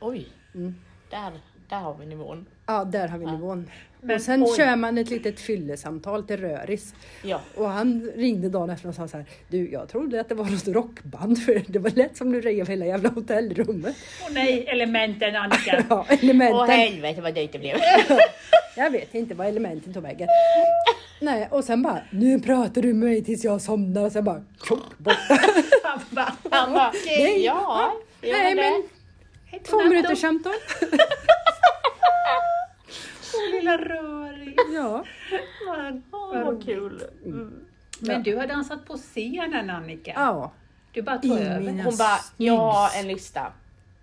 S1: Oj!
S3: Mm.
S1: Där, där har vi nivån.
S3: Ja, där har vi nivån.
S2: Men
S3: och sen
S2: oj.
S3: kör man ett litet fyllesamtal till Röris.
S1: Ja.
S3: Och han ringde dagen efter och sa så här, du jag trodde att det var något rockband för det var lätt som du rev hela jävla hotellrummet.
S2: Åh nej, elementen Annika!
S3: <laughs> Ja, elementen.
S1: Åh helvete vad dyrt det
S3: <laughs>
S1: blev.
S3: jag vet inte vad elementen tog vägen. Nej, och sen bara, nu pratar du med mig tills jag somnar och sen bara, tjock bort.
S2: Han bara,
S1: Han bara,
S3: Nej.
S1: ja. ja
S3: Nej men,
S2: "Hej,
S3: två
S2: godnatt
S3: minuters
S2: då,
S3: samtal.
S2: Lilla rörig.
S3: Ja.
S1: Åh, vad kul.
S2: Men du har dansat på scenen Annika.
S3: ja.
S2: Du bara
S3: I
S2: tog över.
S3: mina
S1: Hon bara,
S3: snyggs.
S1: jag har en lista.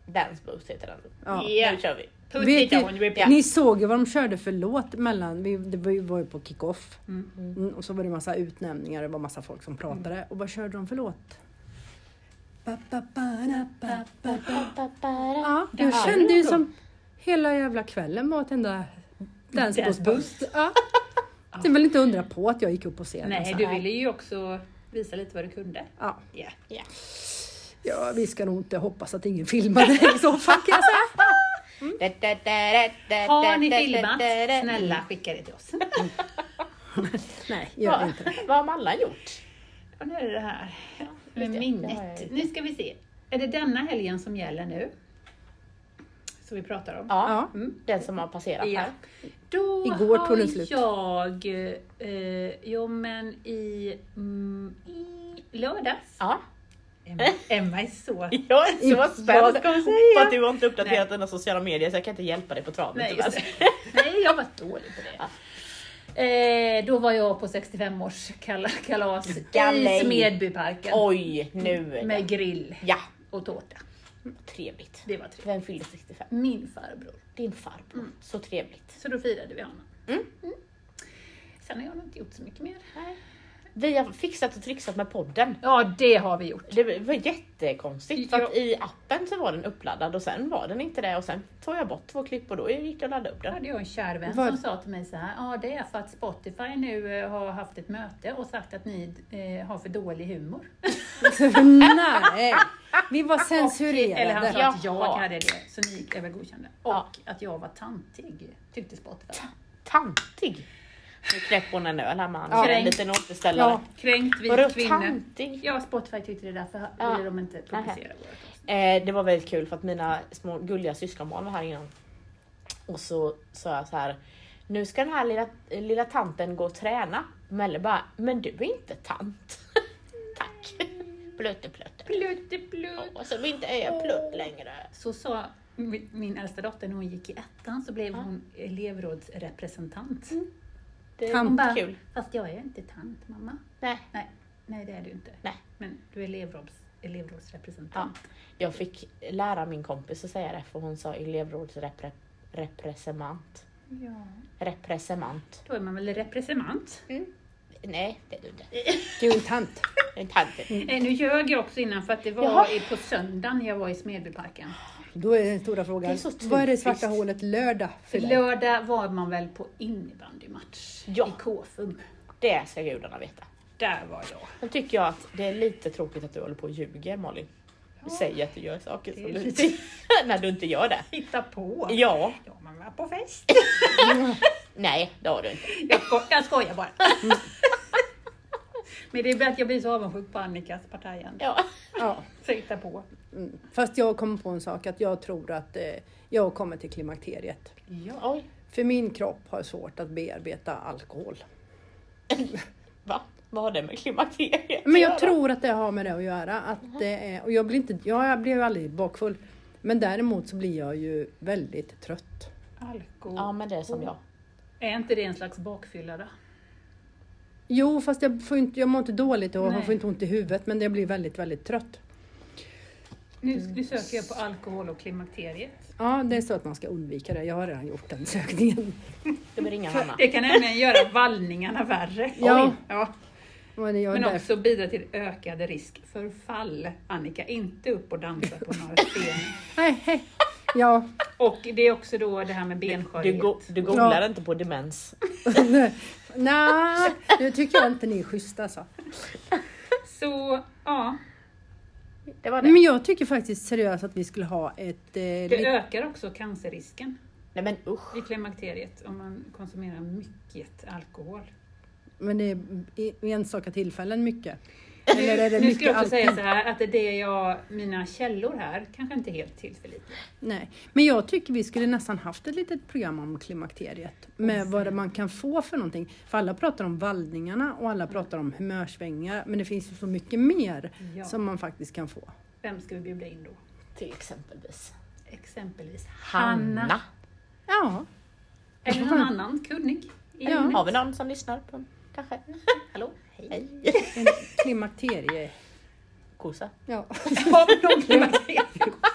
S1: Dance Boost heter den.
S3: Ja.
S1: Nu kör vi.
S2: Put
S3: Vet
S2: it
S3: ni,
S2: on repeat.
S3: Ni såg ju vad de körde för låt mellan, vi, det var ju, var ju på kick-off. Mm, och så var det massa utnämningar, det var massa folk som pratade. Och vad körde de för låt? Ba, ba, ba, da, ba, ba, ba. Ja, jag kände ju som hela jävla kvällen var ett enda dansbåsbust. Ja. Det är väl inte undra på att jag gick upp på scenen.
S2: Nej,
S3: så
S2: du
S3: här.
S2: ville ju också visa lite vad du kunde.
S3: Ja.
S2: Ja.
S3: ja, vi ska nog inte hoppas att ingen filmade i så fall kan jag säga.
S2: Har ni filmat? Snälla skicka det till oss.
S3: Nej, gör inte det.
S1: Vad har Mallan gjort?
S2: Och nu är det det här med minnet. Nu ska vi se. Är det denna helgen som gäller nu? Som vi pratar om? Mm.
S1: Ja,
S3: Ja.
S1: den som har passerat
S2: Ja.
S1: här.
S2: Då
S3: Igår
S2: har
S3: tog den slut.
S2: jag, eh, jo men i, mm, i lördags.
S1: Ja. <laughs>
S2: Emma, Emma är <laughs> så...
S1: Jag är så spänd
S2: ska hon säga?
S1: på att du har inte
S2: Nej.
S1: uppdaterat dina sociala medier så jag kan inte hjälpa dig på traven
S2: Nej,
S1: tyvärr.
S2: just det. Nej, jag var dålig på det. Eh, då var jag på 65-årskalas i
S1: Galej.
S2: Smedbyparken
S1: Oj, nu är det.
S2: med grill
S1: Ja,
S2: och tårta.
S1: trevligt.
S2: Det Mm. var trevligt.
S1: Vem fyllde 65?
S2: Min farbror.
S1: Din farbror. Så trevligt.
S2: Så då firade vi honom. Mm. Sen har jag nog inte gjort så mycket mer.
S1: Vi har fixat och trixat med podden.
S2: Ja, det har vi gjort.
S1: Det var jättekonstigt. För att
S2: Ja.
S1: I appen så var den uppladdad och sen var den inte det och sen tog jag bort två klipp och då gick det att ladda upp
S2: Jag
S1: den.
S2: hade jag en kär vän som sa till mig så här, ja det är för att Spotify nu eh, har haft ett möte och sagt att ni eh, har för dålig humor.
S3: Nej, vi var
S2: Eller han
S3: censurerade.
S2: sa att jag
S1: Jaha.
S2: hade det, så ni är väl godkända. Och att jag var tantig, tyckte Spotify.
S1: Tantig! Nu knäpper hon en öl här med
S3: Ja.
S1: ja. en liten återställare.
S3: Ja.
S2: Kränkt
S1: Vadå
S2: vi kvinnor.
S1: tantig?
S2: Ja, Spotify tyckte det därför
S1: Ja.
S2: ville de inte publicera vårt avsnitt.
S1: Eh, det var väldigt kul för att mina små gulliga syskonbarn var här innan. Och så sa jag så här. Nu ska den här lilla, lilla tanten gå och träna. Melle bara, men du är inte tant. <laughs> Tack! Plötte plötte.
S2: Plutte, plutt.
S1: Och så vi inte är plutt längre.
S2: Så sa mi- min äldsta dotter när hon gick i ettan så blev hon elevrådsrepresentant.
S1: Mm. Det är
S2: Hon bara,
S1: kul.
S2: fast jag är inte tant mamma.
S1: Nej.
S2: Nej, nej det är du inte.
S1: Nej.
S2: Men du är elevråds, elevrådsrepresentant.
S1: Jag fick lära min kompis att säga det för hon sa elevrådsrepresentant.
S2: Ja.
S1: Representant.
S2: Då är man väl representant.
S1: Nej, det är du inte.
S3: Du är en Mm. tant.
S1: Det är en tant.
S2: Eh, nu ljög jag också innan för att det
S1: Jaha.
S2: var i, på söndagen jag var i Smedbyparken.
S3: Då är den stora frågan,
S1: Det är så
S3: vad är det svarta
S1: typiskt.
S3: hålet lördag för dig?
S2: Lördag var man väl på innebandymatch
S1: Ja.
S2: i Kåfum.
S1: Det ska gudarna veta.
S2: Där var jag.
S1: Sen tycker jag att det är lite tråkigt att du håller på och ljuger Molly. Du säger att du gör saker som
S2: Det är
S1: du
S2: lite-
S1: inte <laughs> när du inte gör det.
S2: Hitta på.
S1: Ja,
S2: Ja, man var på fest.
S1: nej det har du inte.
S2: <laughs> Jag, sko jag skojar bara. <laughs> Men det är bara att jag blir så avundsjuk på Annikas partajan.
S1: Ja.
S3: Ja.
S2: Så hitta på.
S3: Mm. Fast jag kom på en sak, att jag tror att eh, jag kommer till klimakteriet.
S2: Ja.
S1: Oj,
S3: För min kropp har svårt att bearbeta alkohol.
S1: va? Vad har det med klimakteriet
S3: Men jag
S1: att
S3: tror att det har med det att göra. Att det är, och jag blir, inte, ja, jag blir ju aldrig bakfull. Men däremot så blir jag ju väldigt trött.
S2: Alkohol.
S1: Ja men det är som jag.
S2: Är inte det en slags bakfylla då?
S3: Jo, fast jag, får inte, jag mår inte dåligt och
S2: Nej.
S3: får inte ont i huvudet, men jag blir väldigt, väldigt trött.
S2: Nu, nu söker jag på alkohol och klimakteriet.
S3: Ja, det är så att man ska undvika det. Jag har redan gjort den <laughs> sökningen.
S1: Ska vi ringa Hanna?
S2: Det kan nämligen göra vallningarna värre.
S3: Ja.
S2: Oj. ja.
S3: Men jag är
S2: Men
S3: där-
S2: också bidra till ökad risk för fall. Annika, inte upp och dansa på
S3: <laughs>
S2: några stenar.
S3: Nej, hej. Ja, <laughs>
S2: Och det är också då det här med
S1: Du, go-
S2: benskörhet.
S1: du googlar inte på demens.
S3: nej, nu tycker jag inte ni är schyssta så.
S2: Så, ja.
S1: Det var det.
S3: Men jag tycker faktiskt seriöst att vi skulle ha ett... Eh,
S2: Det
S3: li-
S2: ökar också cancerrisken
S1: Nej men usch.
S2: i klimakteriet om man konsumerar mycket alkohol.
S3: men det är i- i enstaka tillfällen mycket. Eller är det
S2: nu
S3: mycket
S2: ska jag också säga
S3: alltid?
S2: så här att det är det jag, mina källor här kanske inte är helt tillförlitliga.
S3: Nej, men jag tycker vi skulle nästan haft ett litet program om klimakteriet. Med vad det man kan få för någonting. För alla pratar om vallningarna och alla pratar om humörsvängningar. Men det finns ju så mycket mer
S2: Ja.
S3: som man faktiskt kan få.
S2: Vem ska vi bjuda in då?
S1: Till exempelvis
S2: Exempelvis Hanna.
S1: Hanna.
S3: Ja,
S2: Eller någon annan kunnig. i
S3: Ja.
S2: ämnet.
S1: Har vi någon som lyssnar? På, kanske?
S2: Mm. <laughs> Hallå, hej.
S1: Hej.
S3: klimakterie...
S1: Kossa.
S3: Ja. <laughs>
S2: Har vi någon klimakteriet?